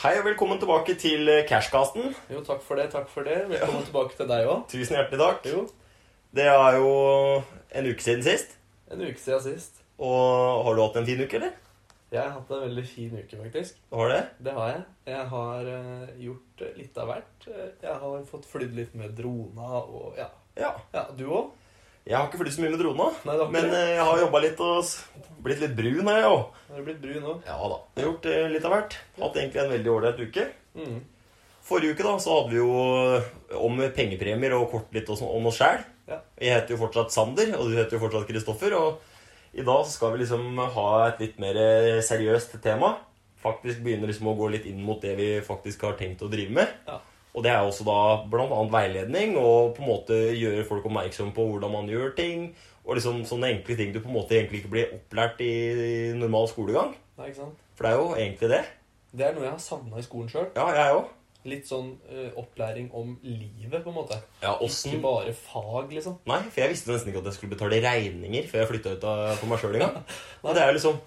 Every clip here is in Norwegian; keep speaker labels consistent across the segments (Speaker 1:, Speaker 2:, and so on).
Speaker 1: Hei og velkommen tilbake til eh, Cashcasten.
Speaker 2: Jo, takk for det, takk for det. Velkommen tilbake til deg òg.
Speaker 1: Tusen hjertelig takk.
Speaker 2: Jo,
Speaker 1: Det er jo en uke siden sist.
Speaker 2: en uke siden sist.
Speaker 1: Og har du hatt en fin uke, eller?
Speaker 2: Jeg har hatt en veldig fin uke, faktisk.
Speaker 1: Har det?
Speaker 2: Det har jeg. Jeg har eh, gjort eh, litt av hvert. Eh, Jeg har fått flydd litt med drona og ja.
Speaker 1: Ja.
Speaker 2: ja du òg?
Speaker 1: Jeg har ikke flydd så mye med drona.
Speaker 2: Nei, det har ikke
Speaker 1: Men
Speaker 2: det.
Speaker 1: eh, jeg har jobba litt og s- blitt litt brun, har jeg òg.
Speaker 2: Har du blitt brun òg?
Speaker 1: Ja da. Jeg har gjort eh, litt av hvert. Hatt egentlig en veldig ålreit uke.
Speaker 2: Mm.
Speaker 1: Forrige uke da, så hadde vi jo eh, om pengepremier og kort litt og sånn om oss sjæl.
Speaker 2: Ja.
Speaker 1: Jeg heter jo fortsatt Sander, og du heter jo fortsatt Kristoffer. Og i dag så skal vi liksom ha et litt mer eh, seriøst tema. Faktisk begynner liksom å gå litt inn mot det vi faktisk har tenkt å drive med.
Speaker 2: Ja.
Speaker 1: Og det er også da blant annet veiledning, og på en måte gjøre folk oppmerksom på hvordan man gjør ting. Og liksom sånne enkle ting du på en måte egentlig ikke blir opplært i i normal skolegang.
Speaker 2: Nei, ikke sant?
Speaker 1: For det er jo egentlig det.
Speaker 2: Det er noe jeg har savna i skolen sjøl.
Speaker 1: Ja, jeg òg.
Speaker 2: Litt sånn eh, opplæring om livet, på en måte.
Speaker 1: Ja,
Speaker 2: Ikke
Speaker 1: åssen
Speaker 2: bare fag, liksom.
Speaker 1: Nei, for jeg visste nesten ikke at jeg skulle betale regninger før jeg flytta ut av, for meg sjøl engang. Og Det er jo liksom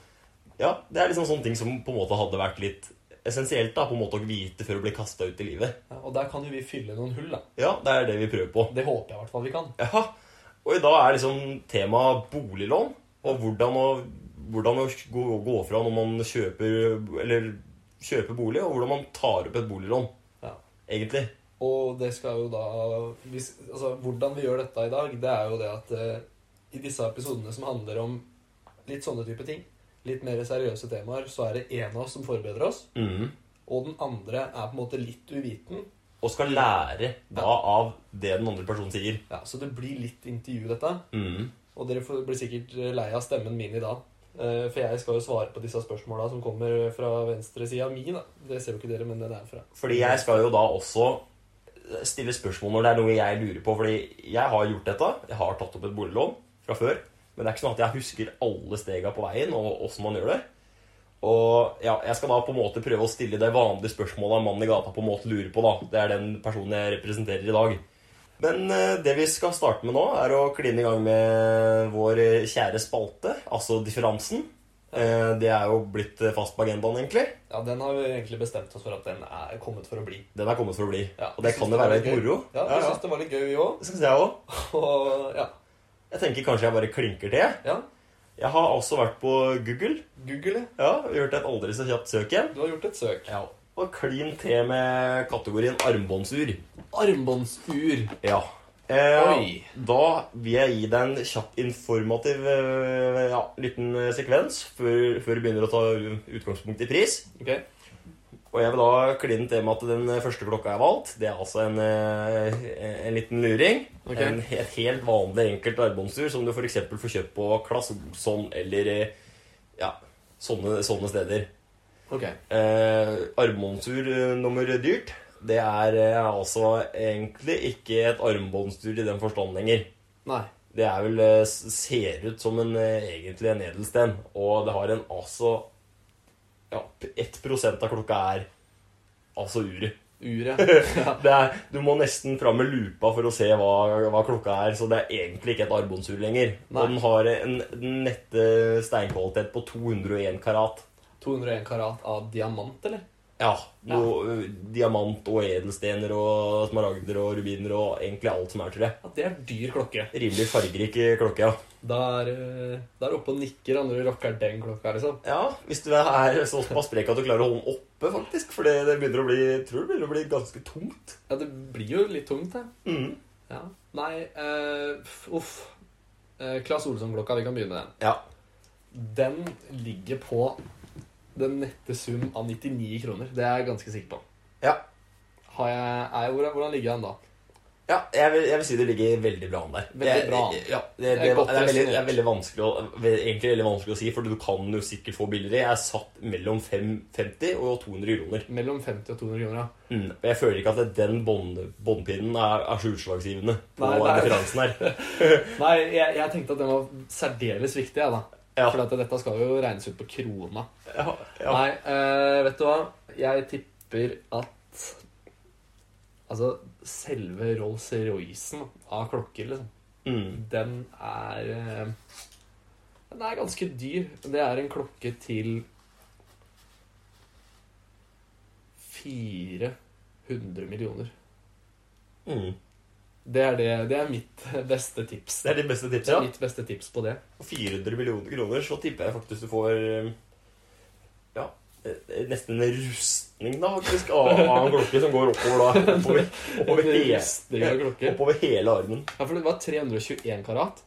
Speaker 1: Ja, det er liksom sånne ting som på en måte hadde vært litt essensielt da, på en måte å vite før du blir kasta ut i livet.
Speaker 2: Ja, og der kan jo vi fylle noen hull, da.
Speaker 1: Ja, det er det vi prøver på.
Speaker 2: Det håper jeg i hvert fall vi kan.
Speaker 1: Ja, Og i dag er liksom temaet boliglån, og hvordan å, hvordan å gå, gå fra når man kjøper Eller kjøper bolig, og hvordan man tar opp et boliglån,
Speaker 2: Ja.
Speaker 1: egentlig.
Speaker 2: Og det skal jo da hvis, altså, Hvordan vi gjør dette i dag, det er jo det at eh, i disse episodene som handler om litt sånne type ting, litt mer seriøse temaer, så er det en av oss som forbereder oss,
Speaker 1: Mhm.
Speaker 2: og den andre er på en måte litt uviten.
Speaker 1: Og skal lære da
Speaker 2: Ja.
Speaker 1: av det den andre personen sier.
Speaker 2: Ja, Så det blir litt intervju, dette.
Speaker 1: Mhm.
Speaker 2: Og dere får- blir sikkert eh, lei av stemmen min i dag. Eh, For jeg skal jo svare på disse spørsmåla som kommer fra venstresida mi. da. Det ser jo ikke dere, men den er fra.
Speaker 1: Fordi jeg skal jo da også stille spørsmål når det er noe jeg lurer på. Fordi jeg har gjort dette. Jeg har tatt opp et boliglån fra før. Men det er ikke sånn at jeg husker alle stega på veien og åssen man gjør det. Og ja, jeg skal da på en måte prøve å stille det vanlige spørsmålet en mann i gata på en måte lurer på. da. Det er den personen jeg representerer i dag. Men eh, det vi skal starte med nå, er å kline i gang med vår eh, kjære spalte, altså differansen. Eh, Det er jo blitt eh, fast på agendaen, egentlig.
Speaker 2: Ja, Den har vi egentlig bestemt oss for at den er kommet for å bli.
Speaker 1: Den er kommet for å bli.
Speaker 2: Ja,
Speaker 1: og det
Speaker 2: vi
Speaker 1: kan jo
Speaker 2: synes det
Speaker 1: være
Speaker 2: var
Speaker 1: litt
Speaker 2: gøy.
Speaker 1: moro.
Speaker 2: Ja, vi syns det var litt gøy, vi òg.
Speaker 1: Det synes jeg også.
Speaker 2: Og ja.
Speaker 1: Jeg tenker kanskje jeg bare klinker til.
Speaker 2: ja.
Speaker 1: Jeg har også vært på Google.
Speaker 2: Google, ja.
Speaker 1: Ja, Gjort et aldri så kjapt søk igjen.
Speaker 2: Du har gjort et søk.
Speaker 1: Ja. Og klin til med kategorien armbåndsur.
Speaker 2: Armbåndsur.
Speaker 1: Ja. Eh,
Speaker 2: Oi.
Speaker 1: Da vil jeg gi deg en kjapp informativ eh, ja, liten eh, sekvens før, før vi begynner å ta utgangspunkt i pris.
Speaker 2: Ok.
Speaker 1: Og jeg vil da kline til med at den eh, første klokka jeg har valgt, det er altså en, eh, en liten luring.
Speaker 2: Ok.
Speaker 1: En helt, helt vanlig enkelt armbåndsur som du f.eks. får kjøpt på Klass Olsson eller eh, ja, sånne, sånne steder.
Speaker 2: ok.
Speaker 1: Eh, armbåndsur eh, nummer dyrt, det er eh, altså egentlig ikke et armbåndsur i den forstand lenger.
Speaker 2: Nei.
Speaker 1: Det er vel, eh, s- ser ut som en, eh, egentlig en edelsten, og det har en altså ja, 1 av klokka er altså uret.
Speaker 2: Uret. ja.
Speaker 1: Det er, du må nesten fram med lupa for å se hva, hva klokka er, så det er egentlig ikke et armbåndsur lenger.
Speaker 2: Nei.
Speaker 1: Og den har en den nette steinkvalitet på 201 karat.
Speaker 2: 201 karat av diamant, eller?
Speaker 1: Ja, noe, eh, Diamant og edelstener og smaragder og rubiner og egentlig alt som er, tror jeg.
Speaker 2: Ja, Det er dyr klokke.
Speaker 1: Rimelig fargerik eh, klokke, ja.
Speaker 2: Da er eh, da er du oppe og nikker da, når du rocker den klokka, liksom.
Speaker 1: Ja, hvis du er såpass sprek at du klarer å holde den oppe, faktisk. For det, det begynner å bli jeg tror det begynner å bli ganske tungt.
Speaker 2: Ja, det blir jo litt tungt, det.
Speaker 1: Mm.
Speaker 2: Ja. Nei, eh, f- uff. Uh, Claes Olsson-klokka, vi kan begynne med den.
Speaker 1: Ja.
Speaker 2: Den ligger på den nette sum av 99 kroner. Det er jeg ganske sikker på.
Speaker 1: Ja.
Speaker 2: Har jeg, er, hvordan, hvordan ligger den da?
Speaker 1: ja jeg, vil, jeg vil si du ligger veldig bra an der.
Speaker 2: Veldig
Speaker 1: Jeg-
Speaker 2: bra an.
Speaker 1: Ja, det, det,
Speaker 2: Det er
Speaker 1: det,
Speaker 2: godt
Speaker 1: er veldig, det
Speaker 2: resonert.
Speaker 1: er veldig vanskelig å, ve- egentlig veldig vanskelig å si, for du kan jo sikkert få billigere. Jeg er satt mellom 550 og 200 kroner.
Speaker 2: Mellom 50 og 200 kroner, ja.
Speaker 1: Mm. Og jeg føler ikke at den bånd- båndpinnen er, er så utslagsgivende på
Speaker 2: Nei, nei.
Speaker 1: referansen her.
Speaker 2: Nei, jeg, jeg tenkte at den var særdeles viktig, jeg, da.
Speaker 1: Ja.
Speaker 2: For at dette skal jo regnes ut på krona.
Speaker 1: Ja, ja.
Speaker 2: Nei, eh, vet du hva? Jeg tipper at Altså, selve Rolls-Roycen av klokker, liksom,
Speaker 1: Mm.
Speaker 2: den er eh, Den er ganske dyr. Det er en klokke til 400 millioner.
Speaker 1: Mm.
Speaker 2: Det er, det, det er mitt beste tips.
Speaker 1: Det er de beste
Speaker 2: Det er
Speaker 1: tipsene.
Speaker 2: mitt beste tips på det.
Speaker 1: For 400 millioner kroner så tipper jeg faktisk du får eh, Ja, eh, nesten en rustning, da, faktisk, av, av en klokke som går oppover da. Oppover, oppover, he,
Speaker 2: Rustning av klokke.
Speaker 1: oppover hele armen.
Speaker 2: Ja, for det var 321 karat.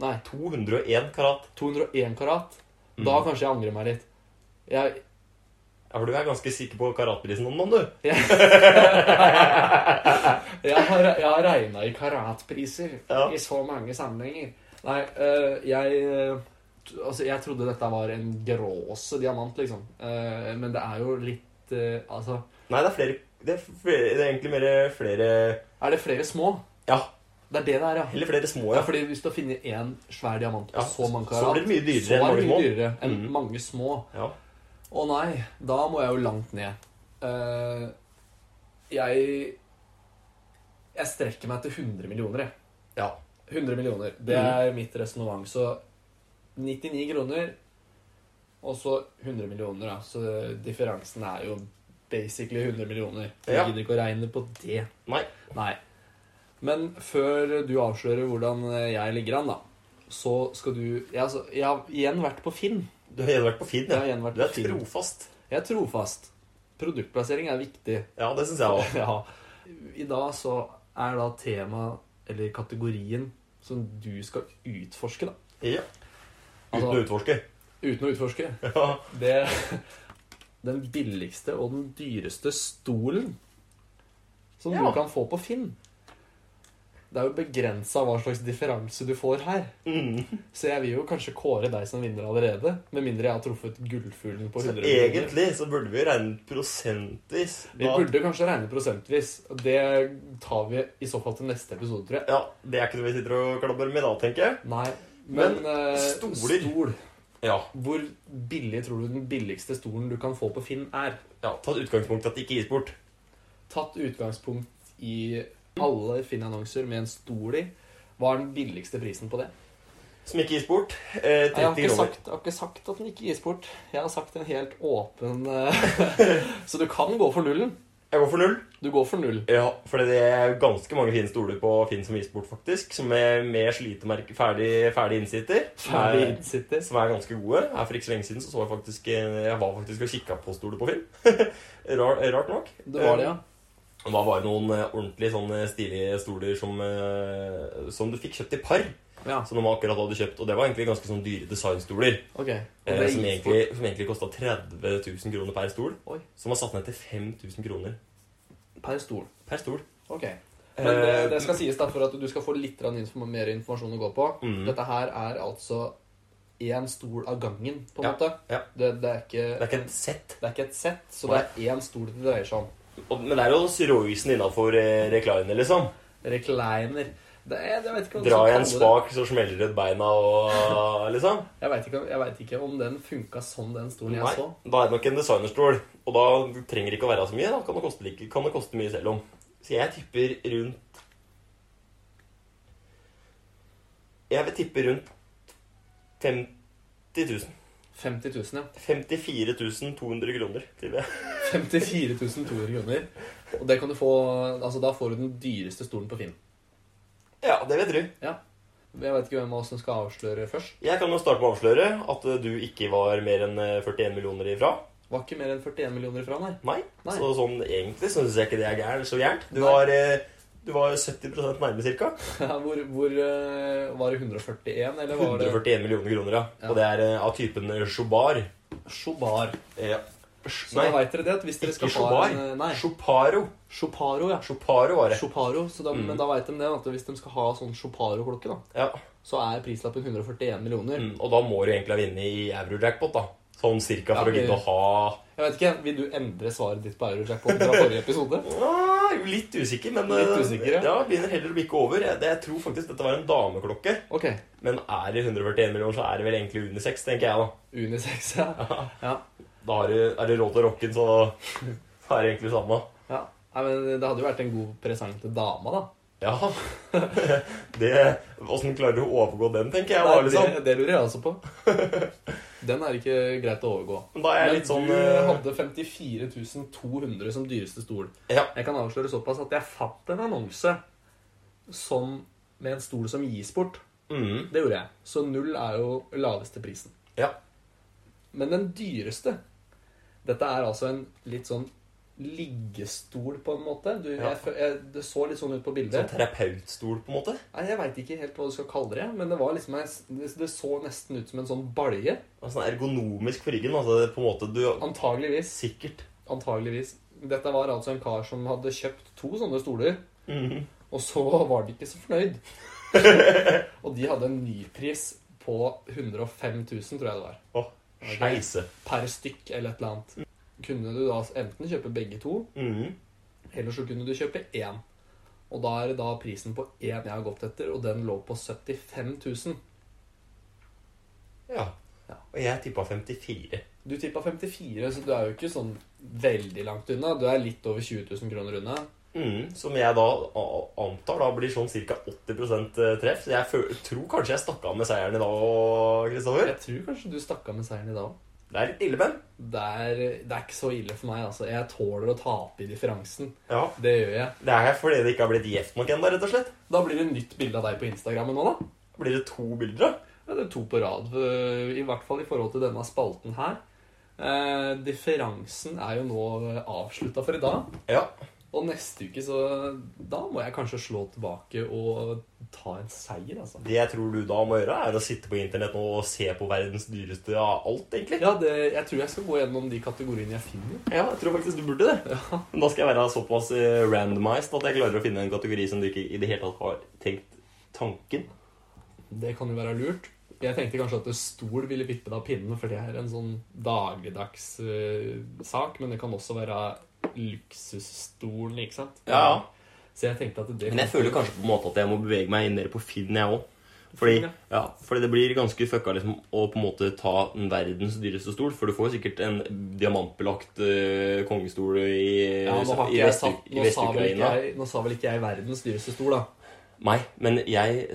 Speaker 2: Nei,
Speaker 1: 201 karat.
Speaker 2: 201 karat. Da
Speaker 1: Mm.
Speaker 2: kanskje jeg angrer meg litt. Jeg,
Speaker 1: Ja, for du er ganske sikker på karatprisen om noen, du.
Speaker 2: jeg har, jeg har regna i karatpriser
Speaker 1: Ja.
Speaker 2: i så mange sammenhenger. Nei, øh, jeg øh, t- Altså, jeg trodde dette var en gråse diamant, liksom. Eh, men det er jo litt eh, Altså
Speaker 1: Nei, det er flere Det er, flere, det er egentlig mer flere
Speaker 2: Er det flere små?
Speaker 1: Ja,
Speaker 2: Det er det det er, ja.
Speaker 1: heller flere små,
Speaker 2: Ja,
Speaker 1: ja.
Speaker 2: fordi Hvis du finner én svær diamant på
Speaker 1: ja.
Speaker 2: så mange
Speaker 1: så
Speaker 2: karat,
Speaker 1: blir det mye
Speaker 2: så
Speaker 1: dyrere enn
Speaker 2: er det
Speaker 1: mange små.
Speaker 2: mye dyrere enn
Speaker 1: Mm.
Speaker 2: mange små.
Speaker 1: Ja.
Speaker 2: Å nei, da må jeg jo langt ned. Eh, jeg Jeg strekker meg til 100 millioner, jeg.
Speaker 1: ja.
Speaker 2: 100 millioner. Det
Speaker 1: Mm.
Speaker 2: er mitt resonnement. Så 99 kroner, og så 100 millioner, da. Så differansen er jo basically 100 millioner. Jeg
Speaker 1: Ja.
Speaker 2: gidder ikke å regne på det.
Speaker 1: Nei.
Speaker 2: Nei. Men før du avslører hvordan jeg ligger an, da, så skal du jeg, altså, jeg har igjen vært på Finn.
Speaker 1: Du har igjen vært på Finn,
Speaker 2: Jeg har
Speaker 1: ja.
Speaker 2: igjen vært
Speaker 1: Du
Speaker 2: på
Speaker 1: er
Speaker 2: Finn.
Speaker 1: trofast.
Speaker 2: Jeg er trofast. Produktplassering er viktig.
Speaker 1: Ja, det syns jeg òg.
Speaker 2: Ja. I dag så er da tema, eller kategorien, som du skal utforske, da.
Speaker 1: Ja. Uten å
Speaker 2: Altså-
Speaker 1: utforske.
Speaker 2: Uten å utforske.
Speaker 1: Ja.
Speaker 2: Det Den billigste og den dyreste stolen som
Speaker 1: Ja.
Speaker 2: du kan få på Finn. Det er jo begrensa hva slags differanse du får her.
Speaker 1: Mm.
Speaker 2: Så jeg vil jo kanskje kåre deg som vinner allerede. Med mindre jeg har truffet gullfuglen på
Speaker 1: Så
Speaker 2: 100 millioner.
Speaker 1: egentlig så burde vi regne prosentvis.
Speaker 2: Vi burde kanskje regne prosentvis. og Det tar vi i så fall til neste episode, tror jeg.
Speaker 1: Ja, Det er ikke noe vi sitter og klabber med da, tenker jeg.
Speaker 2: Nei, men,
Speaker 1: Men
Speaker 2: eh,
Speaker 1: stoler.
Speaker 2: Stol.
Speaker 1: Ja,
Speaker 2: Hvor billig tror du den billigste stolen du kan få på Finn, er?
Speaker 1: ja Tatt utgangspunkt i at det ikke gis bort.
Speaker 2: tatt utgangspunkt i alle Finn-annonser med en stol i. Hva er den billigste prisen på det?
Speaker 1: Som ikke gis bort. Eh,
Speaker 2: Jeg har
Speaker 1: 30
Speaker 2: ikke,
Speaker 1: kroner.
Speaker 2: sagt, jeg har ikke sagt at den ikke gis bort. Jeg har sagt en helt åpen eh, Så du kan gå for nullen.
Speaker 1: Jeg går for null.
Speaker 2: Du går for null.
Speaker 1: Ja, for det er jo ganske mange fine stoler på Finn som gis bort, faktisk. Som er med slitemerke ferdig, ferdig innsitter. Som er-
Speaker 2: Ferdig innsitter.
Speaker 1: Som er ganske gode. Her for ikke så lenge siden så, så jeg faktisk eh, Jeg var faktisk og kikka på stoler på Finn. Rar, rart nok.
Speaker 2: Det var det, ja.
Speaker 1: Og Da var det noen eh, ordentlig sånne stilige stoler som, eh, som du fikk kjøpt i par.
Speaker 2: ja.
Speaker 1: Som de akkurat hadde kjøpt. Og det var egentlig ganske sånn dyre designstoler.
Speaker 2: Ok. Og
Speaker 1: Eh,
Speaker 2: det
Speaker 1: som
Speaker 2: gis
Speaker 1: egentlig, som egentlig kosta 30 000 kroner per stol.
Speaker 2: Oi.
Speaker 1: Som var satt ned til 5000 kroner
Speaker 2: bort per stol.
Speaker 1: per stol.
Speaker 2: Ok. Men det,
Speaker 1: Eh,
Speaker 2: det skal sies da for at du skal få litt grann inform mer informasjon å gå på.
Speaker 1: Mm.
Speaker 2: Dette her er altså én stol av gangen, på en
Speaker 1: Ja,
Speaker 2: måte.
Speaker 1: ja.
Speaker 2: Det, det er ikke
Speaker 1: Det er ikke et sett.
Speaker 2: Det er ikke et sett, så det er én stol det dreier seg om.
Speaker 1: Og- Men det er jo Syroisen innafor eh, reklinen, liksom.
Speaker 2: Recliner. Det er, jeg vet ikke hva
Speaker 1: Dra i
Speaker 2: man
Speaker 1: en
Speaker 2: skal kalle det.
Speaker 1: spak, så smeller det ut beina og liksom.
Speaker 2: Jeg vet, ikke, om- jeg vet ikke om den funka sånn, den stolen jeg
Speaker 1: Nei,
Speaker 2: så.
Speaker 1: da er det nok en designerstol. Og da trenger det ikke å være så mye. Da kan det koste, like, kan det koste mye selv om. Så jeg tipper rundt Jeg vil tippe rundt 50 000.
Speaker 2: 50 000, ja.
Speaker 1: 54 200 kroner, tipper jeg.
Speaker 2: 54 200 kroner. Og det kan du få Altså, da får du den dyreste stolen på Finn.
Speaker 1: Ja, det vil jeg tro.
Speaker 2: Jeg vet ikke hvem av oss som skal avsløre først.
Speaker 1: Jeg kan jo starte med å avsløre at eh, du ikke var mer enn eh, 41 millioner ifra.
Speaker 2: Var ikke mer enn 41 millioner ifra, nei.
Speaker 1: Nei.
Speaker 2: Nei.
Speaker 1: Så sånn egentlig syns jeg ikke det er gærent. Så gærent. Du
Speaker 2: Nei.
Speaker 1: var, eh, du var 70 nærme, cirka.
Speaker 2: Hvor, hvor eh, Var det 141, eller var det
Speaker 1: 141 millioner kroner, ja.
Speaker 2: Ja.
Speaker 1: Og det er eh, av typen Chobar.
Speaker 2: Chobar.
Speaker 1: Ja.
Speaker 2: Så
Speaker 1: Nei,
Speaker 2: da veit dere det at hvis dere
Speaker 1: ikke
Speaker 2: skal ha
Speaker 1: Chobar.
Speaker 2: en eh, Nei,
Speaker 1: Choparo.
Speaker 2: Choparo, ja.
Speaker 1: Choparo var det.
Speaker 2: Choparo. Så da,
Speaker 1: Mm.
Speaker 2: Men da veit de det at hvis de skal ha sånn Choparo-klokke, da
Speaker 1: Ja.
Speaker 2: så er prislappen 141 millioner.
Speaker 1: Mm, og da må du egentlig ha vunnet i euro-jackpot, da. Sånn cirka for
Speaker 2: Ja,
Speaker 1: å gidde å ha
Speaker 2: Jeg vet ikke, Vil du endre svaret ditt på Eurojackpot fra forrige episode?
Speaker 1: ah, jo, Litt usikker, men eh,
Speaker 2: Litt usikker, ja.
Speaker 1: ja, begynner heller å bikke over. Jeg, jeg tror faktisk dette var en dameklokke.
Speaker 2: Ok.
Speaker 1: Men er det 141 millioner, så er det vel egentlig unisex, tenker jeg, da.
Speaker 2: Unisex, ja. ja.
Speaker 1: Da har du, er det råd til rocken, så så er det egentlig samme.
Speaker 2: ja. Nei, men Det hadde jo vært en god presang til dama, da.
Speaker 1: Ja. det, Åssen klarer du å overgå den, tenker jeg.
Speaker 2: Nei,
Speaker 1: bare liksom.
Speaker 2: det, det lurer jeg også på. Den er ikke greit å overgå.
Speaker 1: Men Da er jeg litt sånn
Speaker 2: du
Speaker 1: eh,
Speaker 2: hadde 54 200 som dyreste stol.
Speaker 1: Ja.
Speaker 2: Jeg kan avsløre såpass at jeg fant en annonse som, med en stol som gis bort.
Speaker 1: Mm,
Speaker 2: Det gjorde jeg. Så null er jo laveste prisen.
Speaker 1: ja.
Speaker 2: Men den dyreste Dette er altså en litt sånn liggestol, på en måte. Du,
Speaker 1: Ja.
Speaker 2: jeg, fø- jeg, det så litt sånn ut på
Speaker 1: Sånn
Speaker 2: bildet.
Speaker 1: terapeutstol, på en måte.
Speaker 2: Nei, Jeg veit ikke helt hva du skal kalle det, men det, var liksom, en- det, det så nesten ut som en sånn balje.
Speaker 1: Og Sånn ergonomisk for ryggen. Altså, det er på en måte du
Speaker 2: Antageligvis.
Speaker 1: Sikkert.
Speaker 2: Antageligvis. Dette var altså en kar som hadde kjøpt to sånne stoler,
Speaker 1: Mhm.
Speaker 2: og så var de ikke så fornøyd. og de hadde en ny pris på 105 000, tror jeg det var.
Speaker 1: Åh,
Speaker 2: Ok.
Speaker 1: Skeise.
Speaker 2: Per stykk eller et eller annet. Kunne du da enten kjøpe begge to,
Speaker 1: Mhm.
Speaker 2: eller så kunne du kjøpe én. Og da er det da prisen på én jeg har gått etter, og den lå på 75 000.
Speaker 1: Ja.
Speaker 2: Ja.
Speaker 1: Og jeg tippa 54.
Speaker 2: Du tippa 54, så du er jo ikke sånn veldig langt unna. Du er litt over 20 000 kroner unna.
Speaker 1: Mhm, som jeg da a- antar da blir sånn ca. 80 eh, treff. Så jeg føl tror kanskje jeg stakk av med seieren i dag, Kristoffer.
Speaker 2: Jeg tror kanskje du stakk av med seieren i dag òg.
Speaker 1: Det er litt ille, men.
Speaker 2: det er, det er ikke så ille for meg, altså. Jeg tåler å tape i differansen.
Speaker 1: Ja.
Speaker 2: Det gjør jeg.
Speaker 1: Det er fordi det ikke har blitt gjevt nok ennå, rett og slett.
Speaker 2: Da blir det nytt bilde av deg på Instagram nå, da.
Speaker 1: Blir det to bilder, da?
Speaker 2: Ja, det er to på rad. øh, I hvert fall i forhold til denne spalten her. Eh, differansen er jo nå avslutta for i dag.
Speaker 1: Ja.
Speaker 2: Og neste uke, så Da må jeg kanskje slå tilbake og ta en seier, altså.
Speaker 1: Det jeg tror du da må gjøre, er å sitte på internett nå og se på verdens dyreste av alt, egentlig.
Speaker 2: Ja, det, jeg tror jeg skal gå gjennom de kategoriene jeg finner.
Speaker 1: Ja, jeg tror faktisk du burde det. Men Da skal jeg være såpass eh, randomized at jeg klarer å finne en kategori som du ikke i det hele tatt har tenkt tanken.
Speaker 2: Det kan jo være lurt. Jeg tenkte kanskje at stol ville vippe deg av pinnen, for det er en sånn dagligdags eh, sak. Men det kan også være luksusstolen, ikke sant?
Speaker 1: Ja,
Speaker 2: Så jeg tenkte at det
Speaker 1: Men jeg føler kanskje på en måte at jeg må bevege meg inn mer på Finn, jeg òg. Fordi,
Speaker 2: Finn,
Speaker 1: ja, fordi det blir ganske fucka liksom, å på en måte ta den verdens dyreste stol. For du får sikkert en diamantbelagt eh, kongestol i,
Speaker 2: ja, nå, har
Speaker 1: i
Speaker 2: ikke jeg
Speaker 1: Vest-
Speaker 2: sagt,
Speaker 1: i
Speaker 2: nå, sa vel ikke
Speaker 1: Vest-Ukraina.
Speaker 2: jeg, nå sa vel ikke jeg verdens dyreste stol, da.
Speaker 1: Nei, men jeg,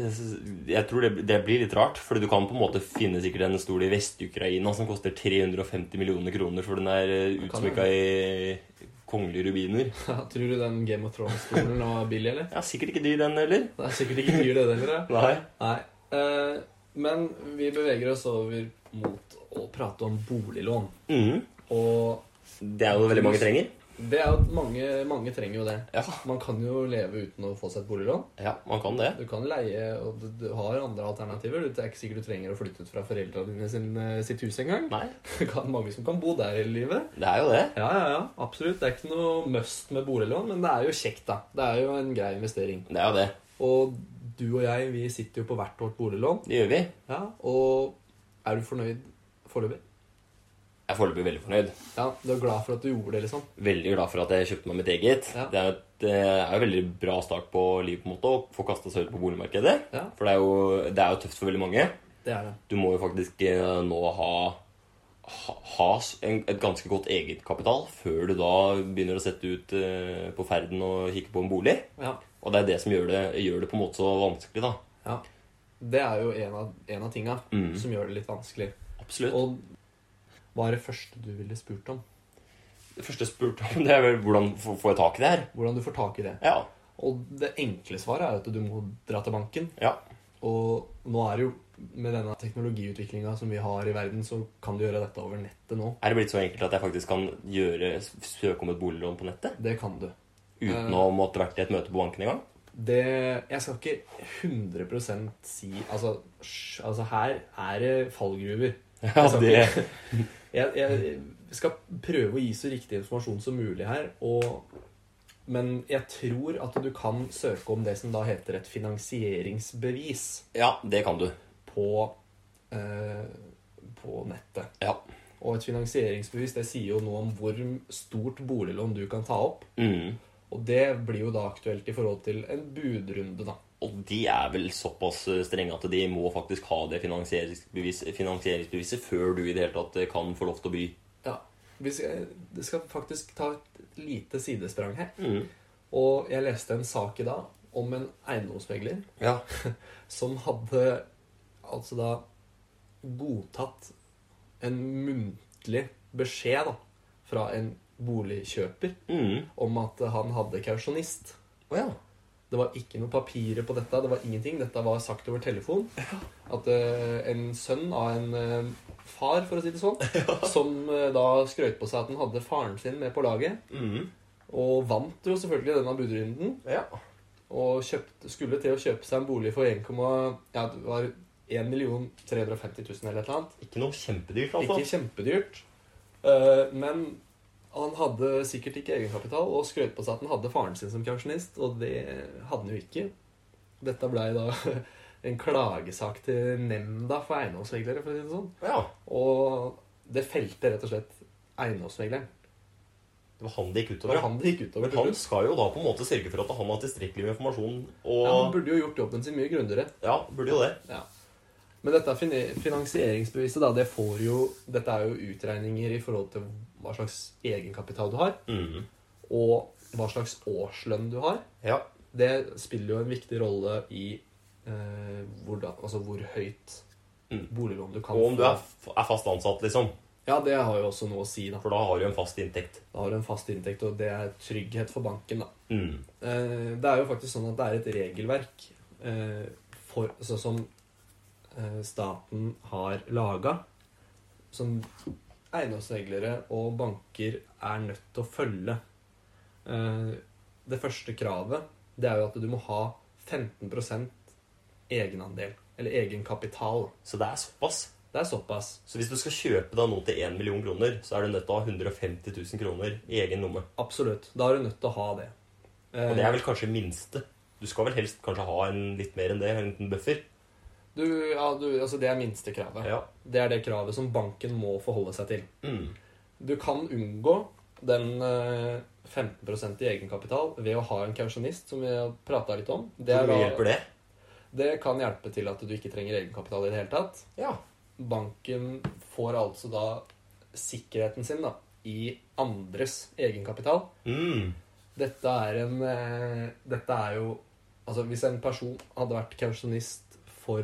Speaker 1: jeg tror det, det blir litt rart. Fordi du kan på en måte finne sikkert en stol i Vest-Ukraina som koster 350 millioner kroner, for den er eh,
Speaker 2: Kan det.
Speaker 1: utsmykka i kongelige rubiner.
Speaker 2: Tror du den Game of Thrones-stolen var billig, eller?
Speaker 1: Ja, Sikkert ikke dyr, den heller.
Speaker 2: Det er sikkert ikke dyr, det heller. da.
Speaker 1: Nei.
Speaker 2: Nei. Eh, men vi beveger oss over mot å prate om boliglån.
Speaker 1: Mhm.
Speaker 2: Og
Speaker 1: Det er jo veldig mange trenger.
Speaker 2: det er jo at mange, mange trenger jo det.
Speaker 1: Ja.
Speaker 2: Man kan jo leve uten å få seg et boliglån.
Speaker 1: ja, man kan det.
Speaker 2: Du kan leie, og du, du har andre alternativer. Du- Det er ikke sikkert du trenger å flytte ut fra foreldrene dine sin, eh, sitt hus engang.
Speaker 1: Nei,
Speaker 2: Det kan mange som kan bo der hele livet.
Speaker 1: det er jo det.
Speaker 2: Ja, ja, ja, absolutt. Det er ikke noe must med boliglån, men det er jo kjekt, da. Det er jo en grei investering.
Speaker 1: Det er jo det.
Speaker 2: Og du og jeg, vi sitter jo på hvert vårt boliglån.
Speaker 1: Det gjør vi.
Speaker 2: Ja, og er du fornøyd foreløpig?
Speaker 1: Jeg er foreløpig veldig fornøyd.
Speaker 2: Ja, du er glad for at du gjorde det, liksom?
Speaker 1: Veldig glad for at jeg kjøpte meg mitt eget.
Speaker 2: Ja.
Speaker 1: Det er jo et, det er en veldig bra start på livet på en måte, å få kasta seg ut på boligmarkedet.
Speaker 2: Ja,
Speaker 1: For det er, jo, det er jo tøft for veldig mange.
Speaker 2: det er det.
Speaker 1: Du må jo faktisk eh, nå ha, ha, ha s- en, et ganske godt egenkapital før du da begynner å sette ut eh, på ferden og kikke på en bolig.
Speaker 2: Ja.
Speaker 1: Og det er det som gjør det, gjør det på en måte så vanskelig, da.
Speaker 2: ja. Det er jo en av, en av tinga
Speaker 1: Mm.
Speaker 2: som gjør det litt vanskelig.
Speaker 1: Absolutt.
Speaker 2: Og hva er det første du ville spurt om?
Speaker 1: det første jeg spurte om, det er vel hvordan får får jeg tak i det her?
Speaker 2: Hvordan du får tak i det.
Speaker 1: Ja.
Speaker 2: Og det enkle svaret er jo at du må dra til banken.
Speaker 1: ja.
Speaker 2: Og nå er det jo med denne teknologiutviklinga som vi har i verden, så kan du gjøre dette over nettet nå.
Speaker 1: Er det blitt så enkelt at jeg faktisk kan gjøre, søke om et boliglån på nettet?
Speaker 2: Det kan du.
Speaker 1: Uten
Speaker 2: Eh.
Speaker 1: å måtte vært i et møte på banken engang?
Speaker 2: Det Jeg skal ikke 100 si Altså, sj, altså her er det fallgruver.
Speaker 1: Ja,
Speaker 2: skal
Speaker 1: det,
Speaker 2: Jeg, jeg skal prøve å gi så riktig informasjon som mulig her, og, men jeg tror at du kan søke om det som da heter et finansieringsbevis
Speaker 1: ja, det kan du.
Speaker 2: på, eh, på nettet.
Speaker 1: Ja.
Speaker 2: Og et finansieringsbevis det sier jo noe om hvor stort boliglån du kan ta opp.
Speaker 1: Mm.
Speaker 2: Og det blir jo da aktuelt i forhold til en budrunde, da.
Speaker 1: Og de er vel såpass eh, strenge at de må faktisk ha det finansieringsbevis, finansieringsbeviset før du i det hele tatt eh, kan få lov til å by.
Speaker 2: Ja. Vi skal, det skal faktisk ta et lite sidesprang her.
Speaker 1: Mm.
Speaker 2: Og jeg leste en sak i dag om en eiendomsmegler
Speaker 1: Ja.
Speaker 2: som hadde altså da godtatt en muntlig beskjed da, fra en boligkjøper
Speaker 1: Mm.
Speaker 2: om at han hadde kausjonist.
Speaker 1: Å ja.
Speaker 2: Det var ikke noe papirer på dette. det var ingenting. Dette var sagt over telefon. At eh, en sønn av en eh, far, for å si det sånn, som eh, da skrøt på seg at han hadde faren sin med på laget,
Speaker 1: Mm.
Speaker 2: og vant jo selvfølgelig denne budrunden,
Speaker 1: Ja.
Speaker 2: og kjøpte, skulle til å kjøpe seg en bolig for 1, ja, det var 1 350 000 eller et eller annet.
Speaker 1: Ikke noe kjempedyrt, altså.
Speaker 2: Ikke kjempedyrt. Eh, men han hadde sikkert ikke egenkapital og skrøt på seg at han hadde faren sin som kausjonist, og det hadde han jo ikke. Dette blei da en klagesak til nemnda for eiendomsmeglere, for å si det sånn.
Speaker 1: Ja.
Speaker 2: Og det felte rett og slett eiendomsmegleren.
Speaker 1: Det var han det gikk
Speaker 2: Det
Speaker 1: utover.
Speaker 2: var
Speaker 1: ja.
Speaker 2: han det gikk utover.
Speaker 1: Men han skal jo da på en måte sørge for at han har tilstrekkelig med informasjon, og
Speaker 2: ja, han burde jo gjort jobben sin mye grundigere.
Speaker 1: Ja, burde jo det.
Speaker 2: Ja. Men dette fin- finansieringsbeviset, da, det får jo Dette er jo utregninger i forhold til hva slags egenkapital du har,
Speaker 1: Mm.
Speaker 2: og hva slags årslønn du har.
Speaker 1: Ja.
Speaker 2: Det spiller jo en viktig rolle i eh, hvordan, altså hvor høyt
Speaker 1: Mm.
Speaker 2: boliglån du kan
Speaker 1: Og om du
Speaker 2: få.
Speaker 1: er, f- er fast ansatt, liksom.
Speaker 2: Ja, det har jo også noe å si. Da
Speaker 1: For da har du en fast inntekt.
Speaker 2: Da har du en fast inntekt, og det er trygghet for banken. da
Speaker 1: Mm.
Speaker 2: Eh, Det er jo faktisk sånn at det er et regelverk eh, for, altså, som eh, staten har laga, som eiendomsreglere og banker er nødt til å følge. Eh, Det første kravet det er jo at du må ha 15 egenandel, eller egenkapital.
Speaker 1: Så det er såpass.
Speaker 2: Det er såpass.
Speaker 1: Så hvis du skal kjøpe deg noe til 1 million kroner, så er du nødt til å ha 150 000 kroner i egen lomme.
Speaker 2: Absolutt. Da er du nødt til å ha det. Eh,
Speaker 1: Og det er vel kanskje minste. Du skal vel helst kanskje ha en litt mer enn det, en liten buffer.
Speaker 2: du, ja, du, altså det er minstekravet.
Speaker 1: Ja.
Speaker 2: Det er det kravet som banken må forholde seg til.
Speaker 1: Mm.
Speaker 2: Du kan unngå den eh, 15 i egenkapital ved å ha en kausjonist, som vi har prata litt om. Det,
Speaker 1: Så
Speaker 2: er
Speaker 1: hvor mye
Speaker 2: da,
Speaker 1: hjelper det?
Speaker 2: det kan hjelpe til at du ikke trenger egenkapital i det hele tatt.
Speaker 1: Ja.
Speaker 2: Banken får altså da sikkerheten sin da, i andres egenkapital.
Speaker 1: Mm.
Speaker 2: Dette er en eh, Dette er jo Altså, hvis en person hadde vært kausjonist for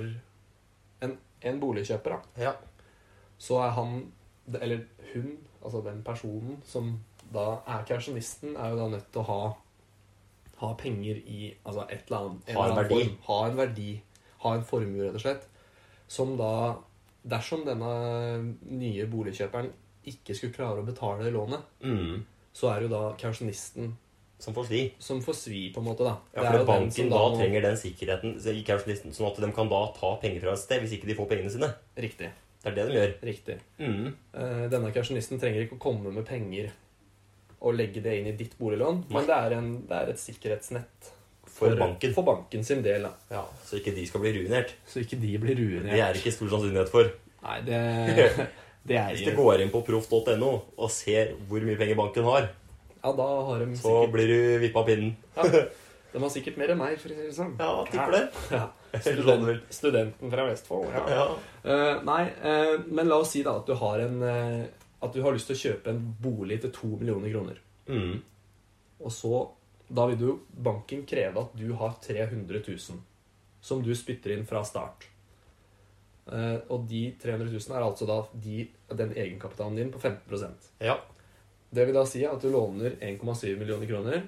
Speaker 2: en, en boligkjøper, da,
Speaker 1: Ja.
Speaker 2: så er han, eller hun, altså den personen som da er kausjonisten, er jo da nødt til å ha, ha penger i altså et eller
Speaker 1: Ha en
Speaker 2: annet. eller annen
Speaker 1: verdi.
Speaker 2: Form, ha en verdi. Ha en formue, rett og slett. Som da, dersom denne nye boligkjøperen ikke skulle klare å betale lånet,
Speaker 1: Mm.
Speaker 2: så er det jo da kausjonisten
Speaker 1: Som får svi.
Speaker 2: som får svi, på en måte, da.
Speaker 1: Ja,
Speaker 2: Det
Speaker 1: for
Speaker 2: er jo den
Speaker 1: Banken
Speaker 2: som
Speaker 1: da
Speaker 2: må-
Speaker 1: trenger den sikkerheten så i kausjonisten, sånn at de kan da ta penger fra et sted hvis ikke de får pengene sine.
Speaker 2: Riktig.
Speaker 1: Det er det de gjør.
Speaker 2: Riktig.
Speaker 1: Mm.
Speaker 2: Eh, Denne kausjonisten trenger ikke å komme med penger og legge det inn i ditt boliglån, men det er, en, det er et sikkerhetsnett
Speaker 1: For banken.
Speaker 2: for banken sin del. Da.
Speaker 1: Ja, Så ikke de skal bli ruinert.
Speaker 2: Så ikke de blir ruinert.
Speaker 1: Det er ikke stor sannsynlighet for.
Speaker 2: Nei, det, det er
Speaker 1: Hvis du
Speaker 2: jo
Speaker 1: går inn på proff.no og ser hvor mye penger banken har,
Speaker 2: Ja, da har de
Speaker 1: så
Speaker 2: sikkert
Speaker 1: blir du vippa av pinnen.
Speaker 2: ja, De har sikkert mer enn meg, for å si det sånn.
Speaker 1: Ja, tipper det.
Speaker 2: Ja.
Speaker 1: Eller sånn vel.
Speaker 2: studenten fra Vestfold. Ja.
Speaker 1: Ja.
Speaker 2: Eh, nei, eh, men la oss si da at du har en eh, At du har lyst til å kjøpe en bolig til to millioner kroner.
Speaker 1: Mm.
Speaker 2: Og så Da vil jo banken kreve at du har 300 000 som du spytter inn fra start. Eh, og de 300 000 er altså da de, den egenkapitalen din på 15
Speaker 1: ja.
Speaker 2: Det vil da si at du låner 1,7 millioner kroner,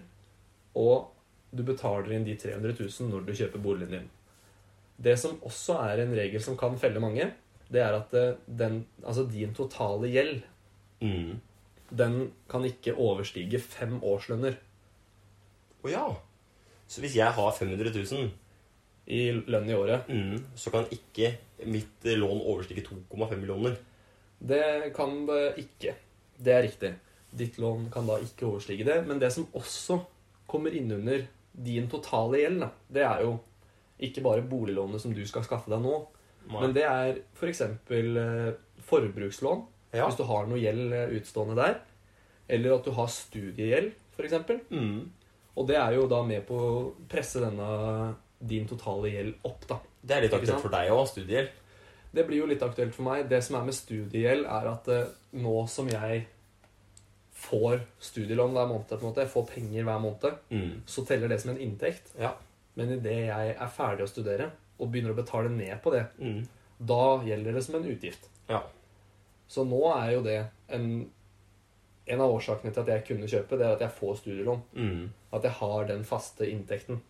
Speaker 2: og du betaler inn de 300 000 når du kjøper boligen din. Det som også er en regel som kan felle mange, det er at eh, den, altså din totale gjeld
Speaker 1: Mm.
Speaker 2: den kan ikke overstige fem årslønner
Speaker 1: Å ja. Så hvis jeg har 500 000,
Speaker 2: i lønn i året.
Speaker 1: mm, så kan ikke mitt eh, lån overstige 2,5 millioner.
Speaker 2: Det kan det ikke. Det er riktig. Ditt lån kan da ikke overstige det. Men det som også kommer innunder din totale gjeld, da, det er jo ikke bare boliglånet som du skal skaffe deg nå,
Speaker 1: Nei.
Speaker 2: men det er f.eks. For eh, forbrukslån,
Speaker 1: ja.
Speaker 2: hvis du har noe gjeld eh, utstående der. Eller at du har studiegjeld, f.eks.
Speaker 1: mm.
Speaker 2: Og det er jo da med på å presse denne din totale gjeld opp, da.
Speaker 1: Det er litt
Speaker 2: Ikke
Speaker 1: aktuelt
Speaker 2: sant?
Speaker 1: for deg òg, studier.
Speaker 2: Det blir jo litt aktuelt for meg. Det som er med studiegjeld, er at eh, nå som jeg får studielån hver måned, på en måte, jeg får penger hver måned,
Speaker 1: Mm.
Speaker 2: så teller det som en inntekt.
Speaker 1: Ja.
Speaker 2: Men idet jeg er ferdig å studere og begynner å betale ned på det,
Speaker 1: Mm.
Speaker 2: da gjelder det som en utgift.
Speaker 1: Ja.
Speaker 2: Så nå er jo det en En av årsakene til at jeg kunne kjøpe, det er at jeg får studielån.
Speaker 1: Mm.
Speaker 2: At jeg har den faste inntekten.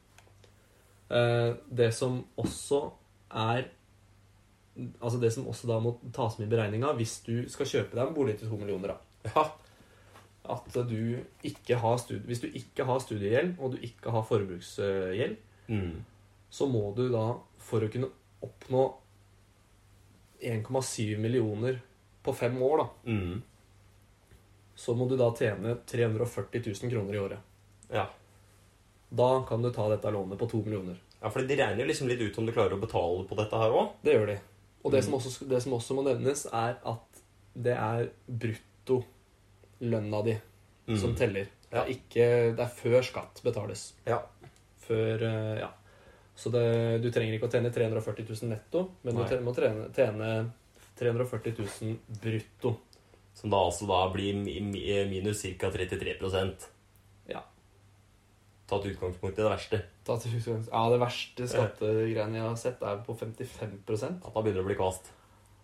Speaker 2: Eh, Det som også er Altså det som også da må tas med i beregninga hvis du skal kjøpe deg en bolig til to millioner, da.
Speaker 1: ja.
Speaker 2: At du ikke har stud- hvis du ikke har studiegjeld, og du ikke har forbruksgjeld,
Speaker 1: Mm.
Speaker 2: så må du da, for å kunne oppnå 1,7 millioner på fem år, da,
Speaker 1: Mm.
Speaker 2: så må du da tjene 340 000 kroner i året.
Speaker 1: ja.
Speaker 2: Da kan du ta dette lånet på 2 millioner.
Speaker 1: Ja, fordi de regner liksom litt ut om du klarer å betale på dette her òg.
Speaker 2: Det gjør de. Og det,
Speaker 1: Mm.
Speaker 2: som også, det som også må nevnes, er at det er brutto lønna di som teller. Det
Speaker 1: Mm. Ja.
Speaker 2: er, ikke, det er før skatt betales.
Speaker 1: Ja.
Speaker 2: Før, eh, ja. Så det, du trenger ikke å tjene 340 000 netto, men du
Speaker 1: Nei.
Speaker 2: tre- må tjene, tjene 340 000 brutto.
Speaker 1: Som da altså da blir mi- mi- minus ca. 33
Speaker 2: Ja.
Speaker 1: Tatt utgangspunkt i det verste.
Speaker 2: Da tror jeg- Ja, det verste skattegreiene jeg har sett, er på 55
Speaker 1: At da begynner det å bli kvast.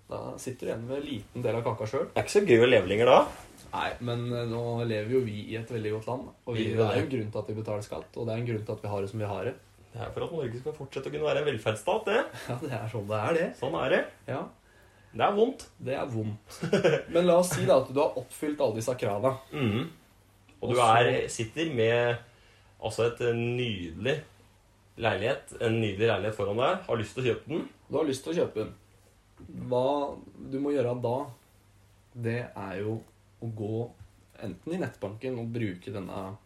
Speaker 2: Da sitter du igjen med en liten del av kaka sjøl.
Speaker 1: Det er ikke så gøy å leve lenger da.
Speaker 2: Nei, men eh, nå lever jo vi i et veldig godt land. Og vi,
Speaker 1: Vi
Speaker 2: det
Speaker 1: gjør
Speaker 2: er jo en grunn til at vi betaler skatt, og det er en grunn til at vi har det som vi har det.
Speaker 1: Det er for at Norge skal fortsette å kunne være en velferdsstat, det.
Speaker 2: Ja, det er sånn det er, det.
Speaker 1: Sånn er det.
Speaker 2: Ja,
Speaker 1: Det er vondt.
Speaker 2: Det er vondt. Men la oss si da at du har oppfylt alle disse krava.
Speaker 1: Mhm. Og du
Speaker 2: Og så-
Speaker 1: er, sitter med altså et nydelig leilighet, en nydelig leilighet foran deg, har lyst til å kjøpe den.
Speaker 2: Du har lyst til å kjøpe den. Hva du må gjøre da, det er jo å gå enten i nettbanken og bruke denne